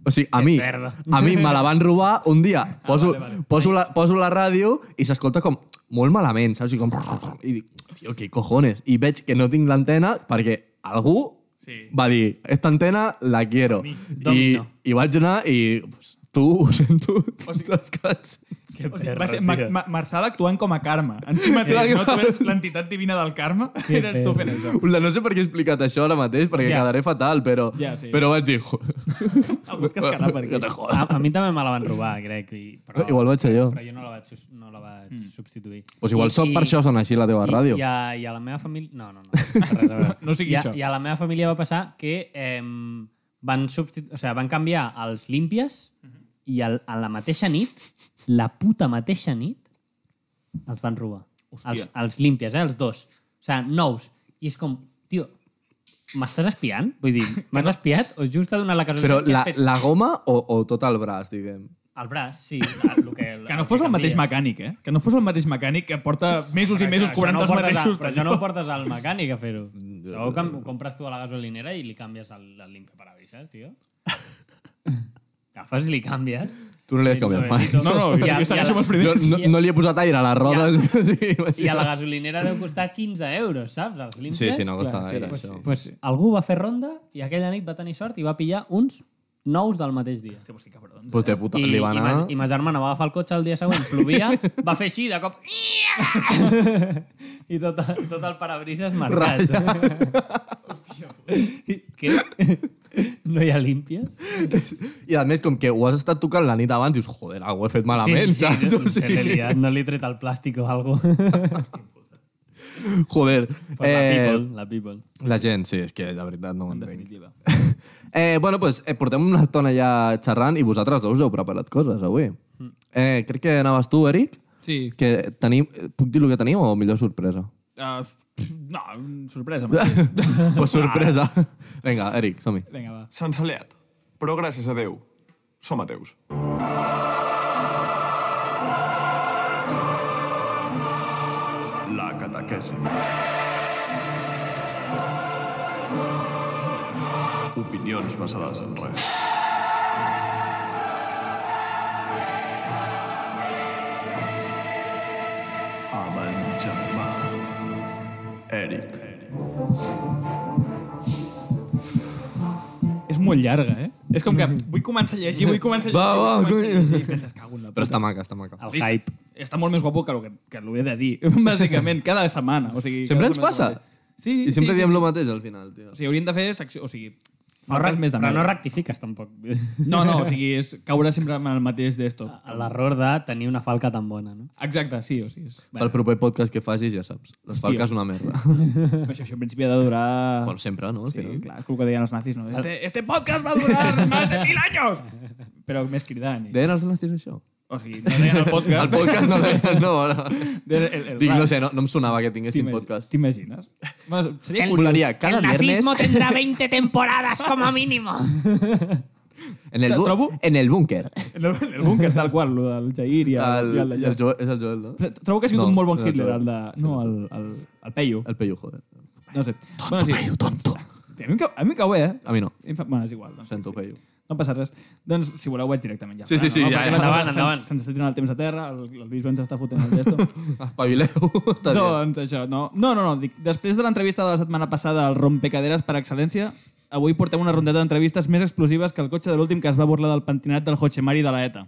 [SPEAKER 3] O sigui, a
[SPEAKER 5] És
[SPEAKER 3] mi,
[SPEAKER 5] verda.
[SPEAKER 3] a mi me la van robar un dia. Poso, ah, vale, vale. poso, la, poso la ràdio i s'escolta com molt malament, saps? I, com, I dic, tio, què cojones? I veig que no tinc l'antena perquè algú
[SPEAKER 6] Sí.
[SPEAKER 3] va dir, esta antena la quiero. I,
[SPEAKER 5] Domino.
[SPEAKER 3] I vaig anar i pues, tu, ho sento, descans.
[SPEAKER 5] Que
[SPEAKER 4] o sigui, va ser Ma Ma Marsal actuant com a karma. En si mateix, no? Tu eres l'entitat divina del karma. Eres tu fent això.
[SPEAKER 3] Hola, no sé per què he explicat això ara mateix, perquè
[SPEAKER 5] Ja.
[SPEAKER 3] yeah. quedaré fatal, però,
[SPEAKER 4] Ja, sí.
[SPEAKER 3] però vaig dir... "Jo-
[SPEAKER 4] Algú et cascarà per
[SPEAKER 3] Que
[SPEAKER 4] aquí.
[SPEAKER 3] te jodas.
[SPEAKER 5] A, a mi també me la van robar, crec. I, però,
[SPEAKER 3] Igual vaig ser jo.
[SPEAKER 5] Però jo no la vaig, sus- no la vaig mm. substituir.
[SPEAKER 3] Pues igual sóc per això sona així la teva
[SPEAKER 5] i,
[SPEAKER 3] ràdio.
[SPEAKER 5] I a, I a la meva família... No, no, no. Res a veure.
[SPEAKER 4] No sigui
[SPEAKER 5] I a,
[SPEAKER 4] això.
[SPEAKER 5] I a la meva família va passar que eh, van, substitu- o sigui, van canviar els límpies i al, a la mateixa nit, la puta mateixa nit, els van robar. Els, els límpies, eh? Els dos. O sigui, nous. I és com, tio, m'estàs espiant? Vull dir, m'has espiat o just t'ha donat la
[SPEAKER 3] Però
[SPEAKER 5] casualitat que
[SPEAKER 3] la,
[SPEAKER 5] has fet
[SPEAKER 3] la goma o, o tot el braç, diguem?
[SPEAKER 5] el braç, sí. El, el que, el
[SPEAKER 4] Que no fos el mateix
[SPEAKER 5] canvies.
[SPEAKER 4] mecànic, eh? Que no fos el mateix mecànic que porta mesos i mesos
[SPEAKER 5] Això
[SPEAKER 4] cobrant
[SPEAKER 5] no ho
[SPEAKER 4] els
[SPEAKER 5] portes
[SPEAKER 4] mateixos.
[SPEAKER 5] A, però això no ho portes al mecànic a fer-ho.
[SPEAKER 3] Mm,
[SPEAKER 5] Segur
[SPEAKER 3] eh,
[SPEAKER 5] que ho compres tu a la gasolinera i li canvies el, el limpiaparabrisas, tio. Agafes i li canvies.
[SPEAKER 3] Tu no li has canviat mai.
[SPEAKER 5] Nuevecito.
[SPEAKER 4] No, no,
[SPEAKER 5] I a- i
[SPEAKER 4] jo
[SPEAKER 5] a la-
[SPEAKER 4] segueixo amb els
[SPEAKER 3] No,
[SPEAKER 4] primers.
[SPEAKER 3] no,
[SPEAKER 5] eh.
[SPEAKER 3] no li he posat aire a les rodes.
[SPEAKER 5] I
[SPEAKER 3] Sí,
[SPEAKER 5] a la gasolinera deu costar 15 euros, saps? Els limpies.
[SPEAKER 3] sí, sí, no costa aire,
[SPEAKER 5] Pues,
[SPEAKER 3] això.
[SPEAKER 5] pues algú va fer ronda i aquella nit va tenir sort i va pillar uns nous del mateix dia.
[SPEAKER 4] Hòstia, pues que cabrons.
[SPEAKER 3] Pues de puta,
[SPEAKER 5] I,
[SPEAKER 3] li va
[SPEAKER 5] i,
[SPEAKER 3] anar...
[SPEAKER 5] ma, I ma germana va agafar el cotxe el dia següent, plovia, va fer així, de cop... I tot, tot el parabrises marcat. Què? No hi ha límpies?
[SPEAKER 3] I a més, com que ho has estat tocant la nit abans, dius, joder, ho he fet malament, saps? Eh.
[SPEAKER 5] no,
[SPEAKER 3] O
[SPEAKER 5] se l'he
[SPEAKER 3] sigui,
[SPEAKER 5] liat, no li he tret el plàstic o alguna cosa.
[SPEAKER 3] joder. Eh,
[SPEAKER 5] La people, la people.
[SPEAKER 3] la gent, sí, és que de veritat no ho entenc.
[SPEAKER 4] Definitiva.
[SPEAKER 3] Eh, bueno, pues, eh, portem una estona ja xerrant i vosaltres dos heu preparat coses avui.
[SPEAKER 5] Mm.
[SPEAKER 3] Eh, crec que anaves tu, Eric,
[SPEAKER 4] Sí.
[SPEAKER 3] que tenim... Puc dir el que tenim o millor sorpresa?
[SPEAKER 4] Uh, no, sorpresa. Martí.
[SPEAKER 3] pues sorpresa. Vinga, Eric, som-hi.
[SPEAKER 4] Vinga, va.
[SPEAKER 1] Sant Saleat, però gràcies a Déu, som ateus. La catequesi. Opinions basades en res. Amb el germà Eric.
[SPEAKER 4] És molt llarga, eh? És com que vull començar a llegir, vull començar a llegir,
[SPEAKER 3] Va, va,
[SPEAKER 4] vull començar a
[SPEAKER 3] coi.
[SPEAKER 4] llegir, i penses, cago en la
[SPEAKER 3] Però
[SPEAKER 4] puta.
[SPEAKER 3] està maca, està maca.
[SPEAKER 5] El
[SPEAKER 4] Vist?
[SPEAKER 5] hype.
[SPEAKER 4] Està molt més guapo que el que, que l'ho he de dir, bàsicament, cada setmana. O sigui,
[SPEAKER 3] Sempre
[SPEAKER 4] cada
[SPEAKER 3] ens
[SPEAKER 4] setmana
[SPEAKER 3] passa.
[SPEAKER 4] és el mateix. Sí,
[SPEAKER 3] I sempre
[SPEAKER 4] sí,
[SPEAKER 3] diem
[SPEAKER 4] sí,
[SPEAKER 3] el mateix al final, tio.
[SPEAKER 4] O sigui, hauríem de fer secció... O sigui,
[SPEAKER 5] No,
[SPEAKER 4] faltes més de
[SPEAKER 5] però no
[SPEAKER 4] merda.
[SPEAKER 5] rectifiques, tampoc.
[SPEAKER 4] No, no, o sigui, és caure sempre en el mateix d'esto.
[SPEAKER 5] L'error de tenir una falca tan bona, no?
[SPEAKER 4] Exacte, sí, o sigui... És...
[SPEAKER 3] El proper podcast que facis, ja saps. Les falques una merda.
[SPEAKER 4] Això, això en principi ha de durar...
[SPEAKER 3] Bueno, sempre, no? Al
[SPEAKER 4] Ah. Sí,
[SPEAKER 3] final.
[SPEAKER 4] clar, és el que deien els nazis, no? Este, este podcast va durar més de mil anys! Però més cridant. I...
[SPEAKER 3] Deien els nazis això?
[SPEAKER 4] O sigui, no deien el podcast.
[SPEAKER 3] El podcast no deien, no. no.
[SPEAKER 4] El, el, el
[SPEAKER 3] Dic, no
[SPEAKER 4] rap.
[SPEAKER 3] sé, no, no em sonava que tinguessin
[SPEAKER 4] T'imagi-
[SPEAKER 3] podcast.
[SPEAKER 4] T'imagines? Bueno, seria curiós.
[SPEAKER 3] Molaria, cada viernes...
[SPEAKER 5] tendrá 20 temporadas como mínimo.
[SPEAKER 3] En el,
[SPEAKER 4] Te'l trobo?
[SPEAKER 3] bu- en el búnquer.
[SPEAKER 4] En el, en el búnker, tal qual, lo del Jair i el, i el,
[SPEAKER 3] El,
[SPEAKER 4] d'allò.
[SPEAKER 3] el Joel, és el Joel, no?
[SPEAKER 4] Trobo que ha sigut
[SPEAKER 3] No,
[SPEAKER 4] un molt bon
[SPEAKER 3] no,
[SPEAKER 4] Hitler,
[SPEAKER 3] Joel.
[SPEAKER 4] el de... No, el, el, el Peyu.
[SPEAKER 3] El Peyu, joder.
[SPEAKER 4] No sé. Tonto bueno, sí. Peyu, tonto. A mi em cau, a mi em cau bé, eh?
[SPEAKER 3] A mi no.
[SPEAKER 4] Em fa- Bueno, és igual. Doncs,
[SPEAKER 3] Sento
[SPEAKER 4] sí.
[SPEAKER 3] Peyu.
[SPEAKER 4] No passa res. Doncs, si voleu, vaig directament ja.
[SPEAKER 3] Sí, sí, sí,
[SPEAKER 4] No,
[SPEAKER 3] ja,
[SPEAKER 4] perquè
[SPEAKER 3] ja.
[SPEAKER 4] la tarda
[SPEAKER 5] Endavant,
[SPEAKER 4] se'ns-
[SPEAKER 5] endavant.
[SPEAKER 4] Se'ns està tirant el temps a terra, el, el bisbe ens està fotent el gesto.
[SPEAKER 3] Espavileu. Està bé.
[SPEAKER 4] doncs això, no. No, no, no. Dic, després de l'entrevista de la setmana passada al Rompecaderes per excel·lència, avui portem una rondeta d'entrevistes més explosives que el cotxe de l'últim que es va burlar del pentinat del Hochemari de la ETA.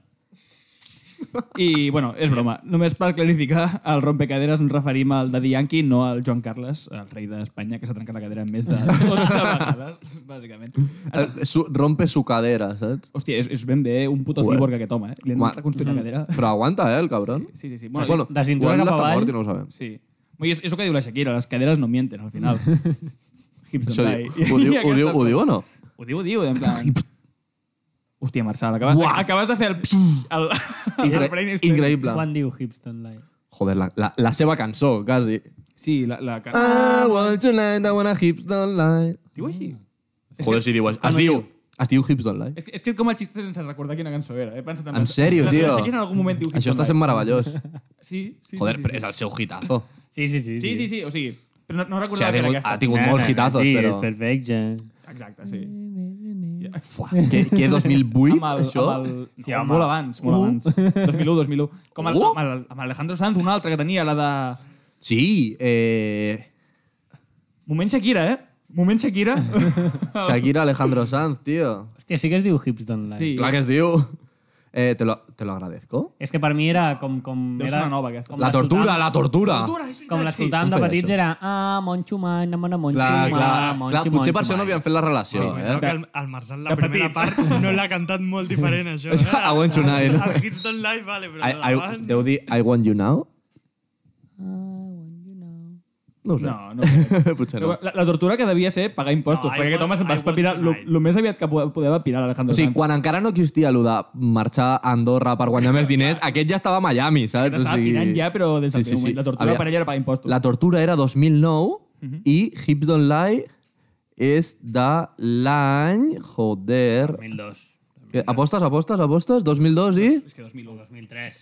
[SPEAKER 4] I, bueno, és broma. Només per clarificar, al Rompecaderes ens referim al Daddy Yankee, no al Joan Carles, el rei d'Espanya, que s'ha trencat la cadera més de 12 vegades, bàsicament.
[SPEAKER 3] El- su, rompe su cadera, saps?
[SPEAKER 4] Hòstia, és, és ben bé eh, un puto
[SPEAKER 3] Ué.
[SPEAKER 4] cíborg aquest home, eh? Li han
[SPEAKER 3] Ma-
[SPEAKER 4] reconstruït la cadera.
[SPEAKER 3] Però aguanta, eh, el cabron.
[SPEAKER 4] Sí, sí, sí. Bueno,
[SPEAKER 3] Bueno,
[SPEAKER 4] bueno,
[SPEAKER 5] de cintura
[SPEAKER 3] igual
[SPEAKER 5] cap
[SPEAKER 3] està
[SPEAKER 5] avall.
[SPEAKER 3] mort i no ho sabem.
[SPEAKER 4] Sí. Vull dir, és, és el que diu la Shakira, les caderes no mienten, al final. Hips
[SPEAKER 3] Això
[SPEAKER 4] don't
[SPEAKER 3] diu,
[SPEAKER 4] die.
[SPEAKER 3] ho, diu, ho, diu, ho
[SPEAKER 4] Aquestes
[SPEAKER 3] diu o no?
[SPEAKER 4] coses. Ho diu, ho diu, en plan... Hòstia, Marçal, acabes,
[SPEAKER 3] Uah.
[SPEAKER 4] acabes de fer el... el, el,
[SPEAKER 3] Incre
[SPEAKER 4] brainstorm.
[SPEAKER 3] increïble.
[SPEAKER 5] Quan diu Hipston Live?
[SPEAKER 3] Joder, la, la, la seva cançó, quasi.
[SPEAKER 4] Sí, la, la can...
[SPEAKER 3] Ah,
[SPEAKER 7] I want you like I wanna hips don't lie.
[SPEAKER 4] Diu així?
[SPEAKER 3] Joder, si diu...
[SPEAKER 4] Ah,
[SPEAKER 3] Es
[SPEAKER 4] no
[SPEAKER 3] diu...
[SPEAKER 4] diu.
[SPEAKER 3] Es diu Hips Don't Lie.
[SPEAKER 4] És que, és que com el xiste sense recordar quina cançó era. He pensat
[SPEAKER 7] En sèrio, tio?
[SPEAKER 4] Sé que en algun moment diu
[SPEAKER 7] Això està sent meravellós.
[SPEAKER 4] Sí, sí,
[SPEAKER 3] Joder,
[SPEAKER 4] sí,
[SPEAKER 3] però
[SPEAKER 4] sí,
[SPEAKER 3] és el seu hitazo.
[SPEAKER 5] Sí, sí, sí. Ah,
[SPEAKER 4] sí. Sí, sí, sí, o sigui, però no, no
[SPEAKER 3] O sigui,
[SPEAKER 4] recordava
[SPEAKER 3] ha
[SPEAKER 4] que era
[SPEAKER 3] tingut,
[SPEAKER 4] aquesta.
[SPEAKER 3] ha tingut molts hitazos,
[SPEAKER 5] sí,
[SPEAKER 3] però...
[SPEAKER 5] és
[SPEAKER 4] este-
[SPEAKER 5] perfecte.
[SPEAKER 4] Exacte, sí.
[SPEAKER 3] Fuà, què, què 2008,
[SPEAKER 4] Amb el,
[SPEAKER 3] això?
[SPEAKER 4] Amb el, Uh!
[SPEAKER 5] Sí,
[SPEAKER 4] sí, home.
[SPEAKER 5] home.
[SPEAKER 4] Molt abans, molt abans. 2001, 2001. Com el,
[SPEAKER 3] Uh!
[SPEAKER 4] amb, el, amb Alejandro Sanz, una altra que tenia, la de...
[SPEAKER 3] Sí, eh...
[SPEAKER 4] Moment Shakira, eh? Moment Shakira.
[SPEAKER 7] Shakira Alejandro Sanz, tío.
[SPEAKER 5] Hòstia, sí que es diu Hips Don't Lie.
[SPEAKER 4] sí.
[SPEAKER 3] Clar que es diu... Eh, te, lo, te lo agradezco.
[SPEAKER 5] És que per mi era com... com
[SPEAKER 4] Deu ser
[SPEAKER 5] era,
[SPEAKER 4] una nova, aquesta.
[SPEAKER 5] Com
[SPEAKER 3] La tortura, la tortura!
[SPEAKER 4] Tortura, és veritat,
[SPEAKER 5] Com l'escoltàvem
[SPEAKER 3] Com
[SPEAKER 5] de
[SPEAKER 3] feia
[SPEAKER 5] petits
[SPEAKER 3] això?
[SPEAKER 5] era ah, Monxo Man, amana Monxo
[SPEAKER 3] Clar,
[SPEAKER 5] Man,
[SPEAKER 3] clar,
[SPEAKER 5] Monxo,
[SPEAKER 3] clar, potser per
[SPEAKER 5] Monxo
[SPEAKER 3] això no
[SPEAKER 5] Man.
[SPEAKER 3] havien fet la relació,
[SPEAKER 6] Sí,
[SPEAKER 3] eh?
[SPEAKER 6] crec que el, el Marçal, la
[SPEAKER 4] de
[SPEAKER 6] primera
[SPEAKER 4] petits.
[SPEAKER 6] part, no l'ha cantat molt diferent, això.
[SPEAKER 3] Això,
[SPEAKER 6] eh?
[SPEAKER 3] I want you now, no?
[SPEAKER 6] El Hips Don't Lie, vale, però
[SPEAKER 3] I, I,
[SPEAKER 6] l'abans...
[SPEAKER 3] deu dir I want you now?
[SPEAKER 5] Ah,
[SPEAKER 3] No ho sé.
[SPEAKER 4] No, no. ho crec.
[SPEAKER 3] potser
[SPEAKER 4] eh? Però
[SPEAKER 3] no.
[SPEAKER 4] La, la tortura que devia ser pagar impostos,
[SPEAKER 6] No, I
[SPEAKER 4] perquè aquest
[SPEAKER 6] want-
[SPEAKER 4] home se'n
[SPEAKER 6] I
[SPEAKER 4] va
[SPEAKER 6] want
[SPEAKER 4] espirar
[SPEAKER 6] to die.
[SPEAKER 4] el més aviat que po- podava pirar l'Alejandro
[SPEAKER 3] O sigui,
[SPEAKER 4] Sanz.
[SPEAKER 3] quan encara no existia allò de marxar a Andorra per guanyar més diners, aquest ja estava a Miami, saps?
[SPEAKER 4] Estava pirant ja, però des del primer moment. La tortura Mhm.
[SPEAKER 3] Aviam,
[SPEAKER 4] per ella era pagar impostos.
[SPEAKER 3] La tortura era 2009 i Hips Don't Lie és de l'any... Joder...
[SPEAKER 5] 2002.
[SPEAKER 3] Eh, Apostes, apostes, apostes? 2002 i...
[SPEAKER 5] És que 2001, 2003.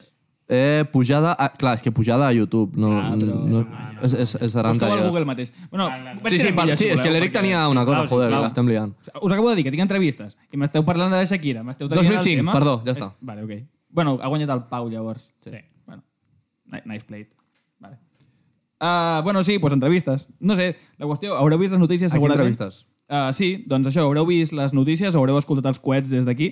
[SPEAKER 3] Eh, pujada... A, clar, és que pujada a YouTube. No, no, és, és, és serà
[SPEAKER 4] Busqueu al
[SPEAKER 3] anterior.
[SPEAKER 4] Google mateix. Bueno,
[SPEAKER 3] Sí, sí, per, sí, és que l'Eric tenia una cosa,
[SPEAKER 5] Sisplau,
[SPEAKER 3] joder,
[SPEAKER 5] sisplau.
[SPEAKER 3] l'estem liant.
[SPEAKER 4] Us acabo de dir que tinc entrevistes i m'esteu parlant de la Shakira, m'esteu traient
[SPEAKER 3] 2005,
[SPEAKER 4] el tema.
[SPEAKER 3] perdó, ja està.
[SPEAKER 4] És- Vale, ok. Bueno, ha guanyat el Pau, llavors.
[SPEAKER 5] Sí.
[SPEAKER 4] Bueno, ni- nice played. Vale. Uh, bueno, sí, pues entrevistes. No sé, la qüestió, haureu vist les notícies
[SPEAKER 3] Aquí
[SPEAKER 4] segurament?
[SPEAKER 3] entrevistes.
[SPEAKER 4] Uh, sí, doncs això, haureu vist les notícies, haureu escoltat els coets des d'aquí,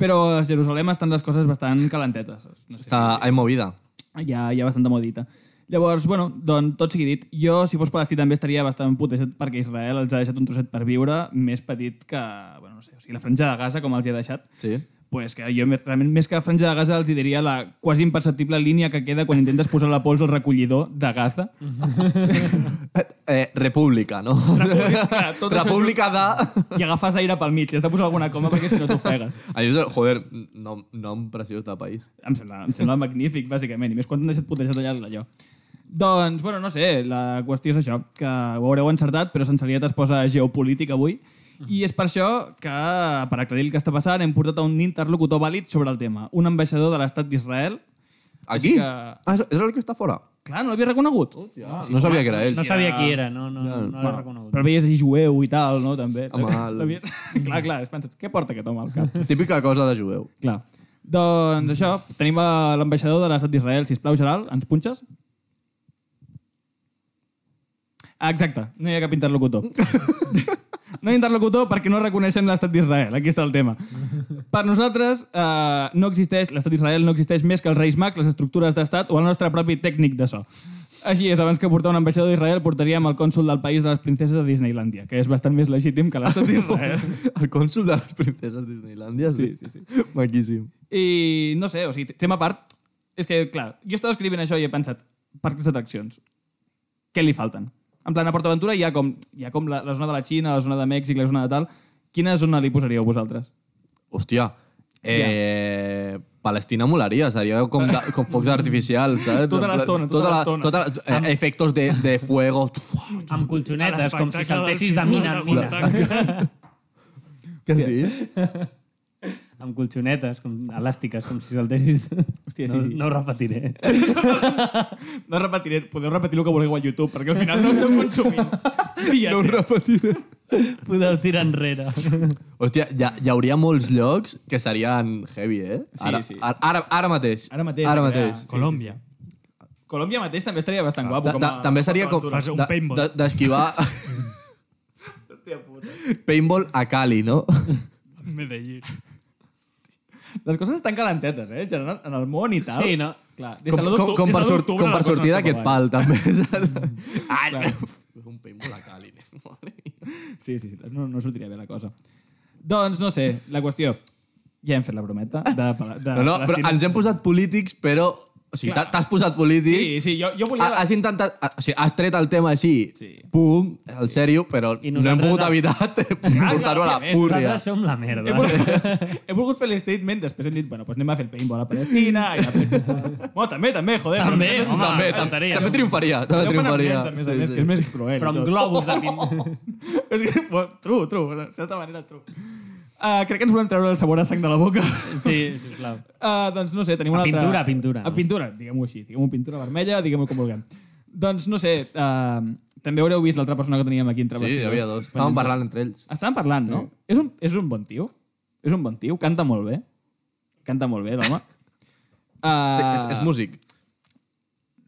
[SPEAKER 4] però a Jerusalem estan les coses bastant calentetes. No sé,
[SPEAKER 3] Està, hay movida.
[SPEAKER 4] hi ha, hi ha bastanta modita. Llavors, bueno, doncs, tot sigui dit, jo, si fos palestí, també estaria bastant putejat perquè Israel els ha deixat un trosset per viure més petit que, bueno, no sé, o sigui, la franja de Gaza, com els hi ha deixat.
[SPEAKER 3] Sí.
[SPEAKER 4] Pues que jo, més- realment, més que la franja de Gaza, els hi diria la quasi imperceptible línia que queda quan intentes posar la pols al recollidor de Gaza.
[SPEAKER 3] Eh, república, no?
[SPEAKER 4] República, clar, tot això
[SPEAKER 3] república de...
[SPEAKER 4] I agafes aire pel mig, has de posar alguna coma perquè si no t'ofegues.
[SPEAKER 3] Allò és, el- joder, nom, nom preciós de país.
[SPEAKER 4] Em sembla, em sembla magnífic, bàsicament. I més quan t'han deixat putejat allà d'allò. Doncs, bueno, no sé, la qüestió és això, que ho haureu encertat, però Sensorieta es posa geopolítica avui. I és per això que, per aclarir el que està passant, hem portat a un interlocutor vàlid sobre el tema. Un ambaixador de l'estat d'Israel.
[SPEAKER 3] Aquí?
[SPEAKER 4] que-
[SPEAKER 3] Ah, és- és el que està fora?
[SPEAKER 4] Clar, no l'havia reconegut. Hòstia.
[SPEAKER 3] No sabia que era ell.
[SPEAKER 5] No sabia qui era, no, no, no, no l'he reconegut.
[SPEAKER 4] Però el veies així jueu i tal, no? També.
[SPEAKER 3] Home, el-
[SPEAKER 4] L'havies- clar, clar, has pensat, què porta aquest home al cap?
[SPEAKER 3] Típica cosa de jueu.
[SPEAKER 4] Clar. Doncs això, tenim a l'ambaixador de l'estat d'Israel, sisplau, Gerald, ens punxes? Ah, Exacte, no hi ha cap interlocutor. No hi ha interlocutor perquè no reconeixem l'estat d'Israel. Aquí està el tema. Per nosaltres, eh, no existeix l'estat d'Israel no existeix més que els Reis Mags, les estructures d'estat o el nostre propi tècnic de so. Així és, abans que portar un ambaixador d'Israel portaríem el cònsul del país de les princeses de Disneylandia, que és bastant més legítim que l'estat d'Israel.
[SPEAKER 3] El cònsul de les princeses Disneylandia, sí. sí, sí, sí. Maquíssim.
[SPEAKER 4] I no sé, o sigui, tema a part, és que, clar, jo estava escrivint això i he pensat, parcs d'atraccions, què li falten? En plan, a PortAventura hi ha com, hi ha com la, la zona de la Xina, la zona de Mèxic, la zona de tal... Quina zona li posaríeu vosaltres?
[SPEAKER 3] Hòstia. Eh, Palestina molaria, seria com, de, com focs artificials, saps? En
[SPEAKER 4] Tota
[SPEAKER 3] plan,
[SPEAKER 4] l'estona, tota
[SPEAKER 3] la-
[SPEAKER 4] l'estona.
[SPEAKER 3] tota la- eh, efectos de, de fuego.
[SPEAKER 5] Amb colxonetes, com si
[SPEAKER 6] L'espectacle
[SPEAKER 5] saltessis de
[SPEAKER 6] del
[SPEAKER 5] mina en
[SPEAKER 6] film,
[SPEAKER 5] mina.
[SPEAKER 6] l'espectacle.
[SPEAKER 3] Què has dit?
[SPEAKER 5] Amb colxonetes, com elàstiques, com si saltessis...
[SPEAKER 4] Hòstia, sí,
[SPEAKER 5] no,
[SPEAKER 4] sí.
[SPEAKER 5] No ho repetiré.
[SPEAKER 4] No repetiré, podeu repetir el que vulgueu a YouTube, perquè al final no estem consumint. I ja no repetiré.
[SPEAKER 5] Podeu tirar enrere.
[SPEAKER 3] Hòstia, hi, ha- hi hauria molts llocs que serien heavy, eh?
[SPEAKER 4] Sí,
[SPEAKER 3] ara,
[SPEAKER 4] sí.
[SPEAKER 3] Ara, ara, ara mateix.
[SPEAKER 4] Ara mateix. eh?
[SPEAKER 3] Ara
[SPEAKER 4] perquè-
[SPEAKER 3] mateix.
[SPEAKER 6] Colòmbia.
[SPEAKER 4] Colòmbia mateix també estaria bastant guapo.
[SPEAKER 3] Ta-
[SPEAKER 4] Com a...
[SPEAKER 3] ta- També seria com...
[SPEAKER 6] Fas un
[SPEAKER 3] de-
[SPEAKER 6] paintball.
[SPEAKER 3] de- D'esquivar...
[SPEAKER 4] Hòstia puta.
[SPEAKER 3] paintball a Cali, no?
[SPEAKER 6] Medellín.
[SPEAKER 4] Les coses estan calentetes, eh? en general, En el món i tal.
[SPEAKER 5] Sí, no?
[SPEAKER 4] Clar, des de
[SPEAKER 3] Com,
[SPEAKER 4] l'u
[SPEAKER 3] com,
[SPEAKER 4] d'octu-
[SPEAKER 3] com,
[SPEAKER 4] des
[SPEAKER 3] per,
[SPEAKER 4] de l'u
[SPEAKER 3] sort,
[SPEAKER 4] d'octubre
[SPEAKER 3] com per
[SPEAKER 4] les coses
[SPEAKER 3] sortir
[SPEAKER 4] no eh?
[SPEAKER 3] d'aquest
[SPEAKER 4] van.
[SPEAKER 3] pal, també. saps? Ai, un paintball a Cali. nen, madre mia.
[SPEAKER 4] Sí, sí, sí. No, no sortiria bé la cosa. Doncs, no sé, la qüestió... Ja hem fet la brometa de, de
[SPEAKER 3] No, no, però ens hem posat polítics, però O sigui,
[SPEAKER 4] Clar.
[SPEAKER 3] t'ha- t'has posat polític.
[SPEAKER 4] Sí, sí, jo, jo volia...
[SPEAKER 3] Ha- Has intentat... ha- O sigui, has tret el tema així,
[SPEAKER 4] Sí.
[SPEAKER 3] pum, al sèrio, però
[SPEAKER 5] I
[SPEAKER 3] no hem
[SPEAKER 5] nosaltres
[SPEAKER 3] pogut
[SPEAKER 5] els-
[SPEAKER 3] evitar portar-ho a la
[SPEAKER 4] Ah, òbviament.
[SPEAKER 3] púrria.
[SPEAKER 5] Nosaltres som la merda.
[SPEAKER 4] He volgut, he volgut fer l'statement, després hem dit, bueno, doncs anem a fer el paintball a Palestina... I a bueno, també, també, joder.
[SPEAKER 5] També,
[SPEAKER 4] però
[SPEAKER 5] home,
[SPEAKER 3] També,
[SPEAKER 5] Ah,
[SPEAKER 3] tam
[SPEAKER 5] tonteria.
[SPEAKER 3] també triomfaria. També
[SPEAKER 4] Ja ho fan amb
[SPEAKER 3] triomfaria.
[SPEAKER 4] nens, a més eh, a
[SPEAKER 3] Sí,
[SPEAKER 4] més,
[SPEAKER 3] sí.
[SPEAKER 4] que és més
[SPEAKER 5] però
[SPEAKER 4] cruel. i
[SPEAKER 5] amb
[SPEAKER 4] tot.
[SPEAKER 5] globus de pintura.
[SPEAKER 4] És que, bueno, true, true, de certa manera true. Uh, crec que ens volem treure el sabor a sang de la boca.
[SPEAKER 5] Sí, sisplau.
[SPEAKER 4] Uh, doncs no sé, tenim
[SPEAKER 5] A
[SPEAKER 4] una
[SPEAKER 5] pintura,
[SPEAKER 4] altra...
[SPEAKER 5] a pintura, no?
[SPEAKER 4] A pintura, diguem-ho així. Diguem-ho pintura vermella, diguem-ho com vulguem. Doncs no sé, uh, també haureu vist l'altra persona que teníem aquí entre
[SPEAKER 3] Sí, hi havia dos. Estàvem parlant entre ells.
[SPEAKER 4] Estaven parlant, no? És, un, és un bon tio. És un bon tio. Canta molt bé. Canta molt bé, l'home.
[SPEAKER 3] Sí,
[SPEAKER 4] Uh,
[SPEAKER 3] És, és músic.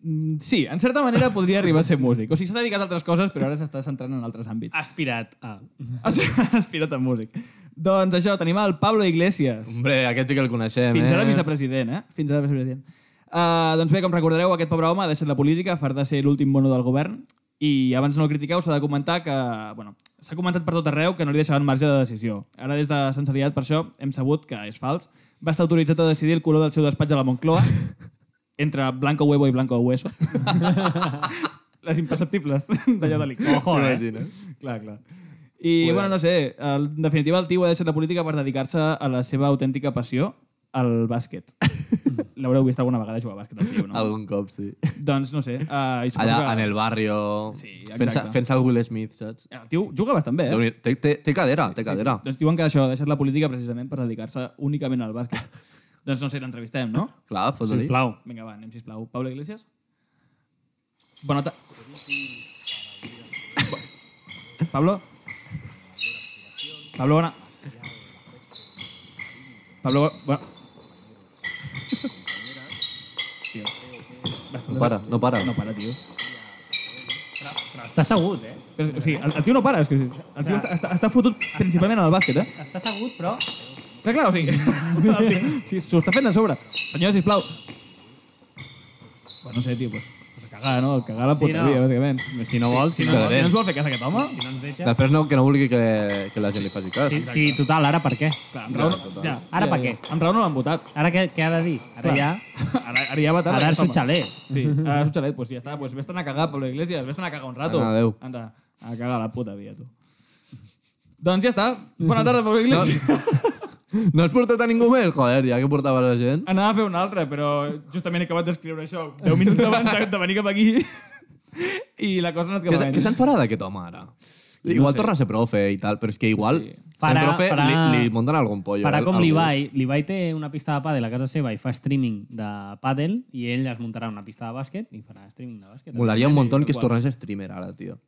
[SPEAKER 4] Mm, Sí, en certa manera podria arribar a ser músic. O sigui, s'ha dedicat a altres coses, però ara s'està centrant en altres àmbits.
[SPEAKER 5] Ah. Aspirat a...
[SPEAKER 4] Ha aspirat a músic. Doncs això, tenim el Pablo Iglesias.
[SPEAKER 3] Hombre, aquest sí que el coneixem,
[SPEAKER 4] Fins
[SPEAKER 3] eh?
[SPEAKER 4] ara vicepresident, eh? Fins ara vicepresident. Uh, doncs bé, com recordareu, aquest pobre home ha deixat la política a far de ser l'últim mono del govern i abans no el critiqueu s'ha de comentar que... Bueno, s'ha comentat per tot arreu que no li deixaven marge de decisió. Ara, des de Sensariat, per això, hem sabut que és fals. Va estar autoritzat a decidir el color del seu despatx a la Moncloa entre blanco huevo i blanco hueso. Les imperceptibles d'allò de l'Ico. Ojo, eh?
[SPEAKER 3] Imagines?
[SPEAKER 4] Clar, clar. I, bueno, no sé, el, en definitiva el tio ha deixat la política per dedicar-se a la seva autèntica passió, al bàsquet. L'haureu vist alguna vegada jugar a bàsquet, el tio, no?
[SPEAKER 3] Algun cop, sí.
[SPEAKER 4] Doncs no sé. Uh, i suposo
[SPEAKER 3] Allà,
[SPEAKER 4] que...
[SPEAKER 3] en el barrio,
[SPEAKER 4] Sí, exacte.
[SPEAKER 3] fent-se fent el Will Smith, saps?
[SPEAKER 4] El tio juga bastant bé, eh?
[SPEAKER 3] Déu-n'hi- Té, té, té cadera, té cadera.
[SPEAKER 4] Doncs diuen que això, ha deixat la política precisament per dedicar-se únicament al bàsquet. doncs no sé, l'entrevistem, no?
[SPEAKER 3] Clar, fot-li.
[SPEAKER 5] Sisplau.
[SPEAKER 4] Vinga, va, anem, sisplau. Pablo Iglesias? Bona tarda. Pablo? Pablo, bona... Pablo, bona... Tio.
[SPEAKER 3] No para, no para.
[SPEAKER 4] No para, tio.
[SPEAKER 5] Està assegut, eh?
[SPEAKER 4] Però, o sigui, el, el tio no para, és que el tio està, està, està fotut principalment en el bàsquet, eh?
[SPEAKER 5] Està assegut, però...
[SPEAKER 4] Clar, clar, o sigui, el tio- sí, s'ho està fent a sobre. Senyor, sisplau. Bueno, no sé, tio, pues, pues a cagar, no? A cagar la
[SPEAKER 5] Sí, no.
[SPEAKER 4] puteria, sí, no. bàsicament.
[SPEAKER 5] Si no vols, si no
[SPEAKER 4] No,
[SPEAKER 5] vols,
[SPEAKER 4] si no ens vol fer cas aquest home,
[SPEAKER 5] si no ens deixa...
[SPEAKER 3] Després no, que no vulgui que, que la gent li faci cas.
[SPEAKER 5] Sí, sí, total, ara per què?
[SPEAKER 4] clar, amb raó, no- ja,
[SPEAKER 5] Ara per
[SPEAKER 4] Doncs, ja, ja.
[SPEAKER 5] què?
[SPEAKER 4] Amb raó no l'han votat.
[SPEAKER 5] Ara què, què ha de dir? Ara
[SPEAKER 4] Clar.
[SPEAKER 5] ja...
[SPEAKER 4] Ara, ara ja va tard.
[SPEAKER 5] Ara és
[SPEAKER 4] aquest
[SPEAKER 5] un
[SPEAKER 4] home.
[SPEAKER 5] xalet.
[SPEAKER 4] Sí, ara és un xalet, pues ja està. Pues vés-te'n a cagar, Pablo Iglesias, vés-te'n a cagar un rato.
[SPEAKER 3] Vinga, adéu.
[SPEAKER 4] Anda, a cagar la puta vida, tu. doncs ja està. Bona tarda, Pablo Iglesias.
[SPEAKER 3] No has portat a ningú més? Joder, ja que portava la gent.
[SPEAKER 5] Ah,
[SPEAKER 4] Anava a fer una altra, però justament he acabat d'escriure això 10 minuts abans de- de venir cap aquí. I la cosa no et
[SPEAKER 3] Què,
[SPEAKER 4] acaba
[SPEAKER 3] se- què se'n farà d'aquest home, ara? Igual torna a ser profe i tal, però és que igual sí.
[SPEAKER 5] Farà-
[SPEAKER 3] profe
[SPEAKER 5] farà-
[SPEAKER 3] li, li munten algun pollo.
[SPEAKER 5] Farà
[SPEAKER 3] eh?
[SPEAKER 5] com
[SPEAKER 3] Algú.
[SPEAKER 5] l'Ibai. L'Ibai té una pista de pàdel a casa seva i fa streaming de pàdel i ell es muntarà una pista de bàsquet i farà streaming de bàsquet.
[SPEAKER 3] Molaria un muntó que es tornés streamer ara, tio.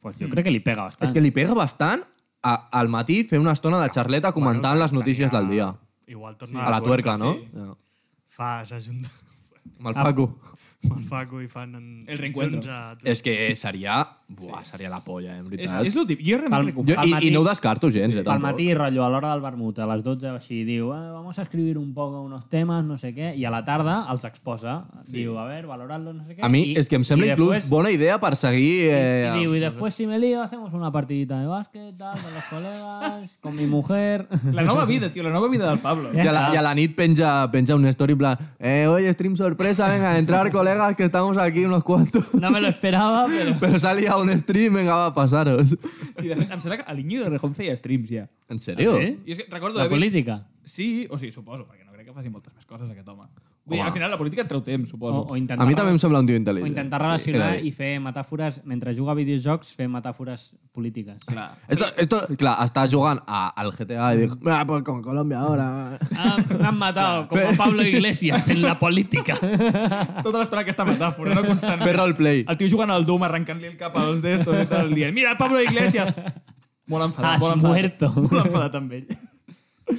[SPEAKER 5] Pues jo crec que li pega
[SPEAKER 3] És
[SPEAKER 5] bastant.
[SPEAKER 3] que li pega bastant a, al matí fer una estona de xarleta comentant les notícies del dia.
[SPEAKER 6] Igual torna
[SPEAKER 3] A la tuerca, no?
[SPEAKER 6] Sí.
[SPEAKER 3] Ja.
[SPEAKER 6] Fa, s'ajunta
[SPEAKER 3] Amb el Facu.
[SPEAKER 5] Ah.
[SPEAKER 6] amb el Facu i fan... En...
[SPEAKER 4] El reencuentro.
[SPEAKER 6] junts a-
[SPEAKER 3] És que seria... Buah, seria la polla, eh, en
[SPEAKER 4] És,
[SPEAKER 3] veritat.
[SPEAKER 4] és lo típic. Jo realment
[SPEAKER 5] Pal-
[SPEAKER 4] crec que ho fa.
[SPEAKER 3] Jo,
[SPEAKER 5] Al
[SPEAKER 3] i,
[SPEAKER 5] matí-
[SPEAKER 3] I no ho descarto gens, eh,
[SPEAKER 5] Al
[SPEAKER 3] tampoc.
[SPEAKER 5] matí, rotllo, a l'hora del vermut, a les 12 o així, diu, "Ah, vamos a escribir un poco unos temas, no sé què, i a la tarda els exposa. Diu, a ver, valorarlo, no sé què.
[SPEAKER 3] A mi
[SPEAKER 5] I-
[SPEAKER 3] és que em sembla
[SPEAKER 5] i
[SPEAKER 3] inclús
[SPEAKER 5] després-
[SPEAKER 3] bona idea per seguir... Eh,
[SPEAKER 5] Y digo, y después si me lío, hacemos una partidita de básquet, tal, con los colegas, con mi mujer.
[SPEAKER 4] La nova vida, tio, la nova vida del Pablo.
[SPEAKER 3] I a, la, I a la nit penja, penja un story en plan eh, oye, stream sorpresa, venga, entrar, colegas, que estamos aquí unos cuantos.
[SPEAKER 5] No me lo esperaba, pero.
[SPEAKER 3] Pero salía un stream, venga, va, pasaros.
[SPEAKER 4] Sí, de fet, em sembla que Alinyo de Rejón feia streams ja.
[SPEAKER 3] ¿En serio?
[SPEAKER 5] Ah, sí?
[SPEAKER 4] I és que recordo
[SPEAKER 5] La
[SPEAKER 4] haver vist
[SPEAKER 5] política.
[SPEAKER 4] Sí, o sigui, suposo, perquè no crec que faci moltes més coses aquest home. Vull dir,
[SPEAKER 3] Home.
[SPEAKER 4] al final la política et treu temps,
[SPEAKER 5] O,
[SPEAKER 4] suposo.
[SPEAKER 5] o intentar,
[SPEAKER 3] A mi també em sembla un tio
[SPEAKER 5] o
[SPEAKER 3] intel·ligent.
[SPEAKER 5] intentar
[SPEAKER 3] era
[SPEAKER 5] relacionar
[SPEAKER 3] bé.
[SPEAKER 5] i fer metàfores, mentre juga a videojocs, fer metàfores polítiques.
[SPEAKER 4] Clar.
[SPEAKER 3] Esto, esto, clar, està jugant a, al GTA i dic, ah, pues con Colombia ahora.
[SPEAKER 5] Han, han matado como
[SPEAKER 3] eh,
[SPEAKER 5] a Pablo Iglesias en la política.
[SPEAKER 4] Tota l'estona aquesta metàfora, no constant.
[SPEAKER 3] Fer roleplay.
[SPEAKER 4] El tio jugant al Doom, arrencant-li el cap als destos i tal, dient, mira, Pablo Iglesias! Molt enfadat,
[SPEAKER 5] Has
[SPEAKER 4] molt enfadat.
[SPEAKER 5] muerto.
[SPEAKER 4] Molt enfadat amb ell.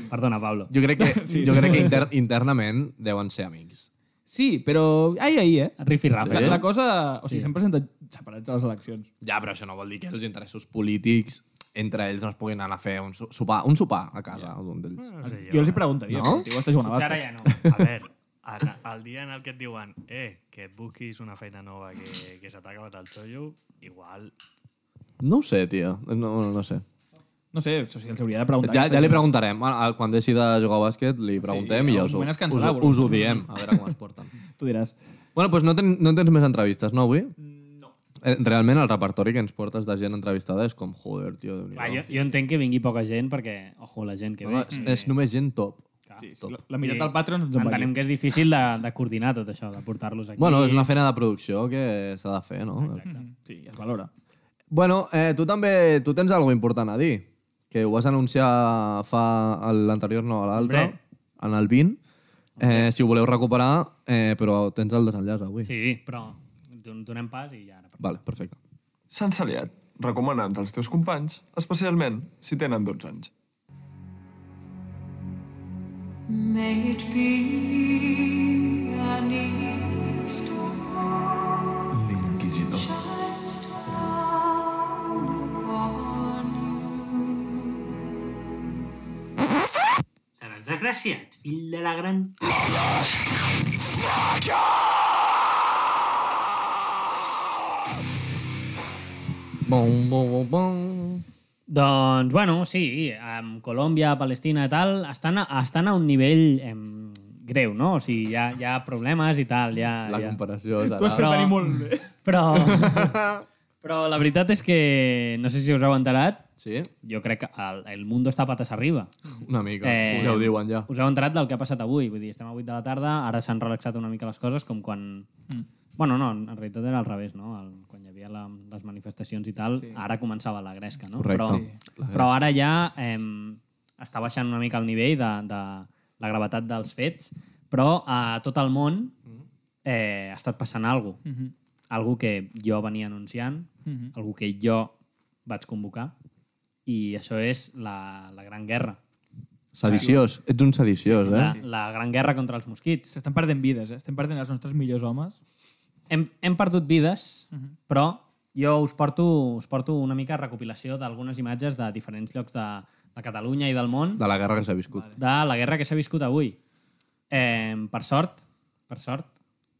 [SPEAKER 5] Perdona, Pablo.
[SPEAKER 3] Jo crec que,
[SPEAKER 4] Sí,
[SPEAKER 3] jo
[SPEAKER 4] sí.
[SPEAKER 3] crec que inter, internament deuen ser amics.
[SPEAKER 4] Sí, però... Ai, ai, eh?
[SPEAKER 5] Riffy Raff.
[SPEAKER 4] La, la cosa... O sigui, s'han presentat separats a les eleccions.
[SPEAKER 3] Ja, però això no vol dir que els interessos polítics entre ells no es puguin anar a fer un so- sopar, un sopar a casa d'un d'ells.
[SPEAKER 6] No sé,
[SPEAKER 4] Jo els hi preguntaria, no? tio, estàs jugant a
[SPEAKER 5] Ara
[SPEAKER 4] bàsquet.
[SPEAKER 5] ja no.
[SPEAKER 6] A veure, el, el dia en el que et diuen eh, que et busquis una feina nova que, que s'ha acabat el xollo, igual...
[SPEAKER 3] No ho sé, tio. No, no, no sé.
[SPEAKER 4] No sé, això sí, els hauria de preguntar. eh?
[SPEAKER 3] Ja, ja li preguntarem. Bueno, al- Quan deixi de jugar a bàsquet, li preguntem i
[SPEAKER 4] en
[SPEAKER 3] ja us ho,
[SPEAKER 4] algun moment es cansarà,
[SPEAKER 3] us, ho-
[SPEAKER 4] volem.
[SPEAKER 3] us ho diem. A veure com es porten.
[SPEAKER 4] Tu diràs.
[SPEAKER 3] bueno, doncs no, ten, no tens més entrevistes, no, avui? No. Realment, el repertori que ens portes de gent entrevistada és com, joder, tio, déu
[SPEAKER 5] Clar,
[SPEAKER 3] nhi
[SPEAKER 5] jo, jo entenc que vingui poca gent perquè, ojo, la gent que ve...
[SPEAKER 3] és, és només gent top.
[SPEAKER 4] Sí, sí,
[SPEAKER 3] Tot.
[SPEAKER 4] la, la meitat del Patreon ens en va
[SPEAKER 5] Entenem
[SPEAKER 4] dir.
[SPEAKER 5] que és difícil de, de coordinar tot això, de portar-los aquí.
[SPEAKER 3] Bueno, és una feina de producció que s'ha de fer, no?
[SPEAKER 4] Sí, es valora.
[SPEAKER 3] Bueno, eh, tu també tu tens alguna important a dir, que ho vas anunciar fa el- l'anterior, no, l'altre,
[SPEAKER 5] Hombre.
[SPEAKER 3] en el 20. Eh, si ho voleu recuperar, eh, però tens el desenllaç avui.
[SPEAKER 5] Sí, però don- donem pas i ja... ara parlem.
[SPEAKER 3] Vale, perfecte.
[SPEAKER 1] Sant Saliat, recomana'ns als teus companys, especialment si tenen 12 anys.
[SPEAKER 8] May it be an evening star
[SPEAKER 1] L'inquisidor.
[SPEAKER 8] shines down upon you.
[SPEAKER 9] Seràs desgraciat, fill de la gran...
[SPEAKER 3] Bom, bom, bom, bom.
[SPEAKER 5] Doncs, bueno, sí, amb Colòmbia, Palestina i tal, estan a, estan a un nivell em, greu, no? O sigui, hi ha, hi ha problemes i tal, hi ha...
[SPEAKER 4] Ah,
[SPEAKER 3] La
[SPEAKER 5] hi ha...
[SPEAKER 3] comparació és
[SPEAKER 4] Tu has
[SPEAKER 3] ara.
[SPEAKER 4] fet
[SPEAKER 5] Però-
[SPEAKER 4] venir molt bé.
[SPEAKER 5] Però... però la veritat és que, no sé si us heu enterat,
[SPEAKER 3] Sí?
[SPEAKER 5] jo crec que el, el mundo està pates arriba.
[SPEAKER 3] Una mica.
[SPEAKER 5] Eh,
[SPEAKER 3] Ja ho diuen, ja.
[SPEAKER 5] Us heu enterat del que ha passat avui. Vull dir, estem a 8 de la tarda, ara s'han relaxat una mica les coses, com quan... Mm. Bueno, no, en realitat era al revés, no? El, quan hi havia la, les manifestacions i tal, sí. ara començava la gresca, no?
[SPEAKER 3] Correcte.
[SPEAKER 5] Però,
[SPEAKER 3] Sí.
[SPEAKER 5] sí. però ara ja eh, està baixant una mica el nivell de, de la gravetat dels fets, però a tot el món eh, ha estat passant alguna cosa. Mm -hmm. Algo que jo venia anunciant, mm -hmm. algo que jo vaig convocar, i això és la, la Gran Guerra.
[SPEAKER 3] Sediciós. Ets un sediciós, eh?
[SPEAKER 5] La, la gran guerra contra els mosquits.
[SPEAKER 4] S'estan perdent vides, eh? Estem perdent els nostres millors homes.
[SPEAKER 5] Hem, hem perdut vides,
[SPEAKER 4] Mhm.
[SPEAKER 5] però jo us porto, us porto una mica recopilació d'algunes imatges de diferents llocs de, de Catalunya i del món de,
[SPEAKER 3] De la guerra que s'ha viscut.
[SPEAKER 5] la guerra que s'ha viscut avui. Eh, per sort, per sort,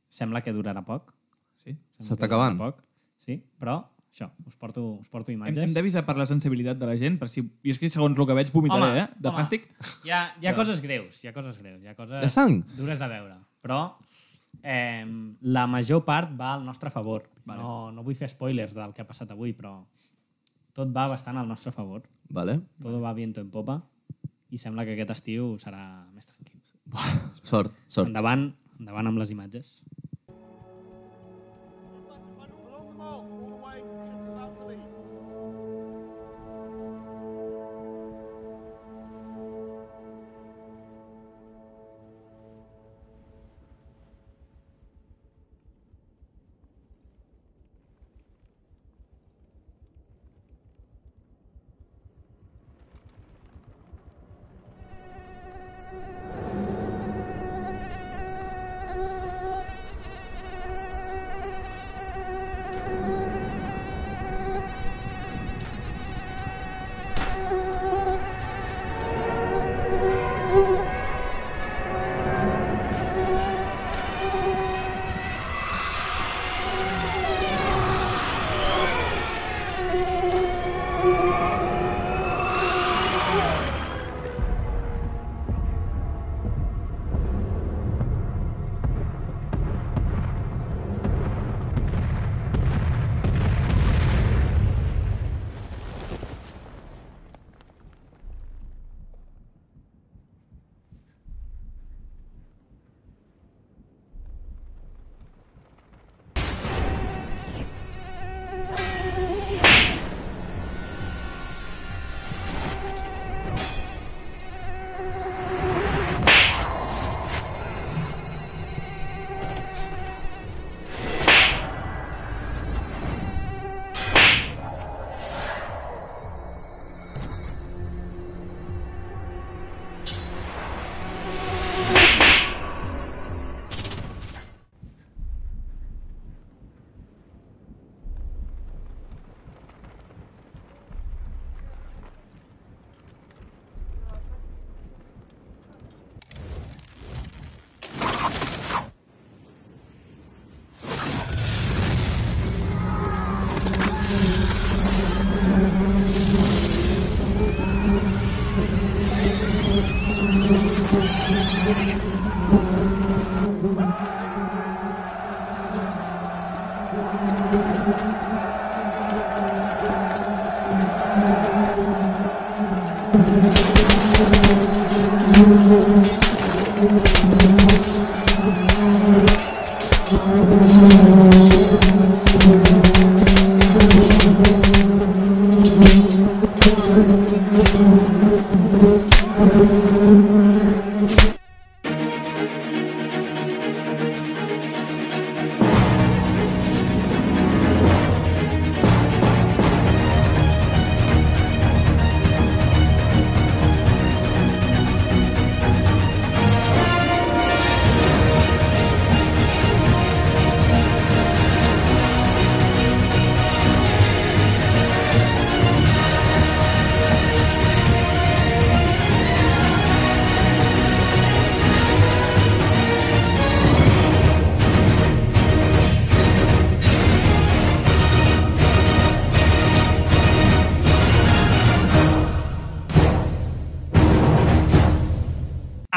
[SPEAKER 5] sembla que durarà poc.
[SPEAKER 4] Sí.
[SPEAKER 5] Sembla
[SPEAKER 3] S'està
[SPEAKER 5] que durarà
[SPEAKER 3] acabant.
[SPEAKER 5] Poc, sí, però això, us porto, us porto
[SPEAKER 4] Hem,
[SPEAKER 5] imatges.
[SPEAKER 4] hem d'avisar per la sensibilitat de la gent, per si... Jo és que segons el que veig vomitaré, eh? De
[SPEAKER 5] home,
[SPEAKER 4] fàstic.
[SPEAKER 5] Hi ha, hi ha coses greus, hi ha coses greus, hi ha coses
[SPEAKER 3] De sang?
[SPEAKER 5] dures de veure, però eh, la major part va al nostre favor. Vale. No, no vull fer spoilers del que ha passat avui, però tot va bastant al nostre favor.
[SPEAKER 3] Vale?
[SPEAKER 5] Tot va viento en popa i sembla que aquest estiu serà més tranquil.
[SPEAKER 3] Sort, sort.
[SPEAKER 5] Endavant, endavant amb les imatges.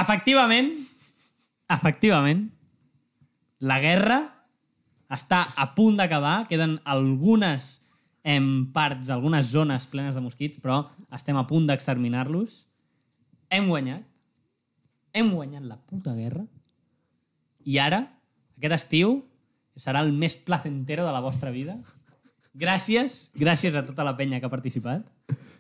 [SPEAKER 5] Efectivament, efectivament, la guerra està a punt d'acabar. Queden algunes em, parts, algunes zones plenes de mosquits, però estem a punt d'exterminar-los. Hem guanyat. Hem guanyat la puta guerra. I ara, aquest estiu, serà el més placentero de la vostra vida. Gràcies, gràcies a tota la penya que ha participat.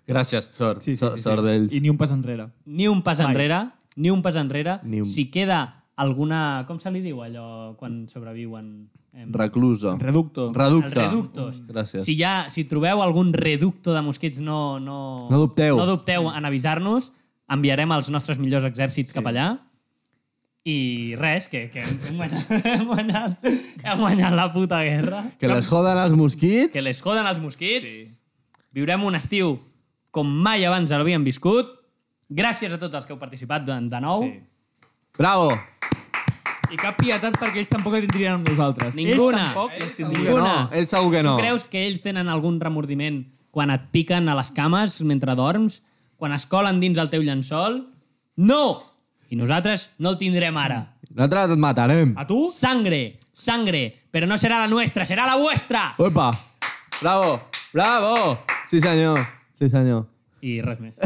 [SPEAKER 3] Gràcies, sort.
[SPEAKER 4] Sí, sí,
[SPEAKER 3] sort,
[SPEAKER 4] sí, sí.
[SPEAKER 3] sort d'ells.
[SPEAKER 4] I ni un pas enrere.
[SPEAKER 5] Ni un pas
[SPEAKER 4] Mai.
[SPEAKER 5] enrere, ni un pas enrere.
[SPEAKER 3] Ni un-
[SPEAKER 5] Si queda alguna... Com se li diu allò quan sobreviuen? Em,
[SPEAKER 3] Reclusa.
[SPEAKER 4] Reducto.
[SPEAKER 5] els
[SPEAKER 3] Reducta.
[SPEAKER 5] reductos.
[SPEAKER 3] Mm, Gràcies.
[SPEAKER 5] Si, ja, si trobeu algun reducto de mosquits, no, no,
[SPEAKER 3] No dubteu.
[SPEAKER 5] no dubteu en avisar-nos. Enviarem els nostres millors exèrcits sí. cap allà. I res, que, que hem, guanyat, hem, guanyat, hem guanyat la puta guerra.
[SPEAKER 3] Que les joden els mosquits.
[SPEAKER 5] Que les joden els mosquits. Sí. Viurem un estiu com mai abans l'havien viscut. Gràcies a tots els que heu participat de, de nou.
[SPEAKER 4] Sí.
[SPEAKER 3] Bravo.
[SPEAKER 4] I cap pietat perquè ells tampoc la tindrien amb nosaltres.
[SPEAKER 5] Ninguna.
[SPEAKER 4] Ells tampoc les tindrien.
[SPEAKER 5] Ninguna.
[SPEAKER 3] No, ell segur que no.
[SPEAKER 5] Tu creus que ells tenen algun remordiment quan et piquen a les cames mentre dorms? Quan es colen dins el teu llençol? No! I nosaltres no el tindrem ara.
[SPEAKER 3] Nosaltres et matarem.
[SPEAKER 4] A tu?
[SPEAKER 5] Sangre, sangre, però no serà la nuestra, serà la vuestra!
[SPEAKER 3] Opa. Bravo. Bravo. Sí, senyor. Sí, senyor.
[SPEAKER 5] I res més.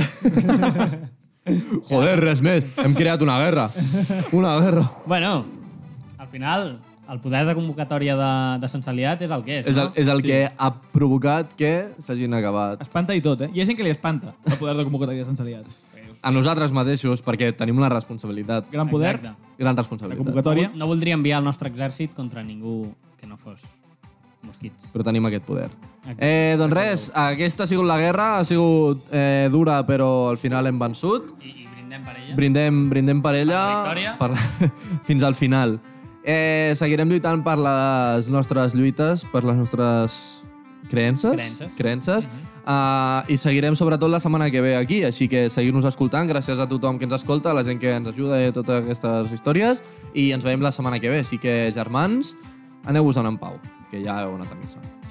[SPEAKER 3] Joder, res més. Hem creat una guerra. Una guerra.
[SPEAKER 5] bueno, al final, el poder de convocatòria de, de Sant Celiat és el que és,
[SPEAKER 3] És el,
[SPEAKER 5] no?
[SPEAKER 3] és el sí. que ha provocat que s'hagin acabat.
[SPEAKER 4] Espanta i tot, eh? Hi ha gent que li espanta el poder de convocatòria de sensoriat.
[SPEAKER 3] A nosaltres mateixos, perquè tenim una responsabilitat.
[SPEAKER 4] Gran poder,
[SPEAKER 5] Exacte.
[SPEAKER 3] Gran
[SPEAKER 4] la
[SPEAKER 3] responsabilitat.
[SPEAKER 4] convocatòria.
[SPEAKER 5] No voldria enviar el nostre exèrcit contra ningú que no fos mosquits.
[SPEAKER 3] Però tenim aquest poder.
[SPEAKER 5] Exacte.
[SPEAKER 3] Eh, doncs res, aquesta ha sigut la guerra, ha sigut eh, dura, però al final hem vençut.
[SPEAKER 5] I, i brindem per ella.
[SPEAKER 3] Brindem, brindem per ella.
[SPEAKER 5] victòria.
[SPEAKER 3] Per, fins al final. Eh, seguirem lluitant per les nostres lluites, per les nostres creences.
[SPEAKER 5] Creences. Mhm.
[SPEAKER 3] creences. Uh, I seguirem sobretot la setmana que ve aquí, així que seguir-nos escoltant. Gràcies a tothom que ens escolta, a la gent que ens ajuda i a totes aquestes històries. I ens veiem la setmana que ve. Així que, germans, aneu-vos en pau, que ja heu anat a missa.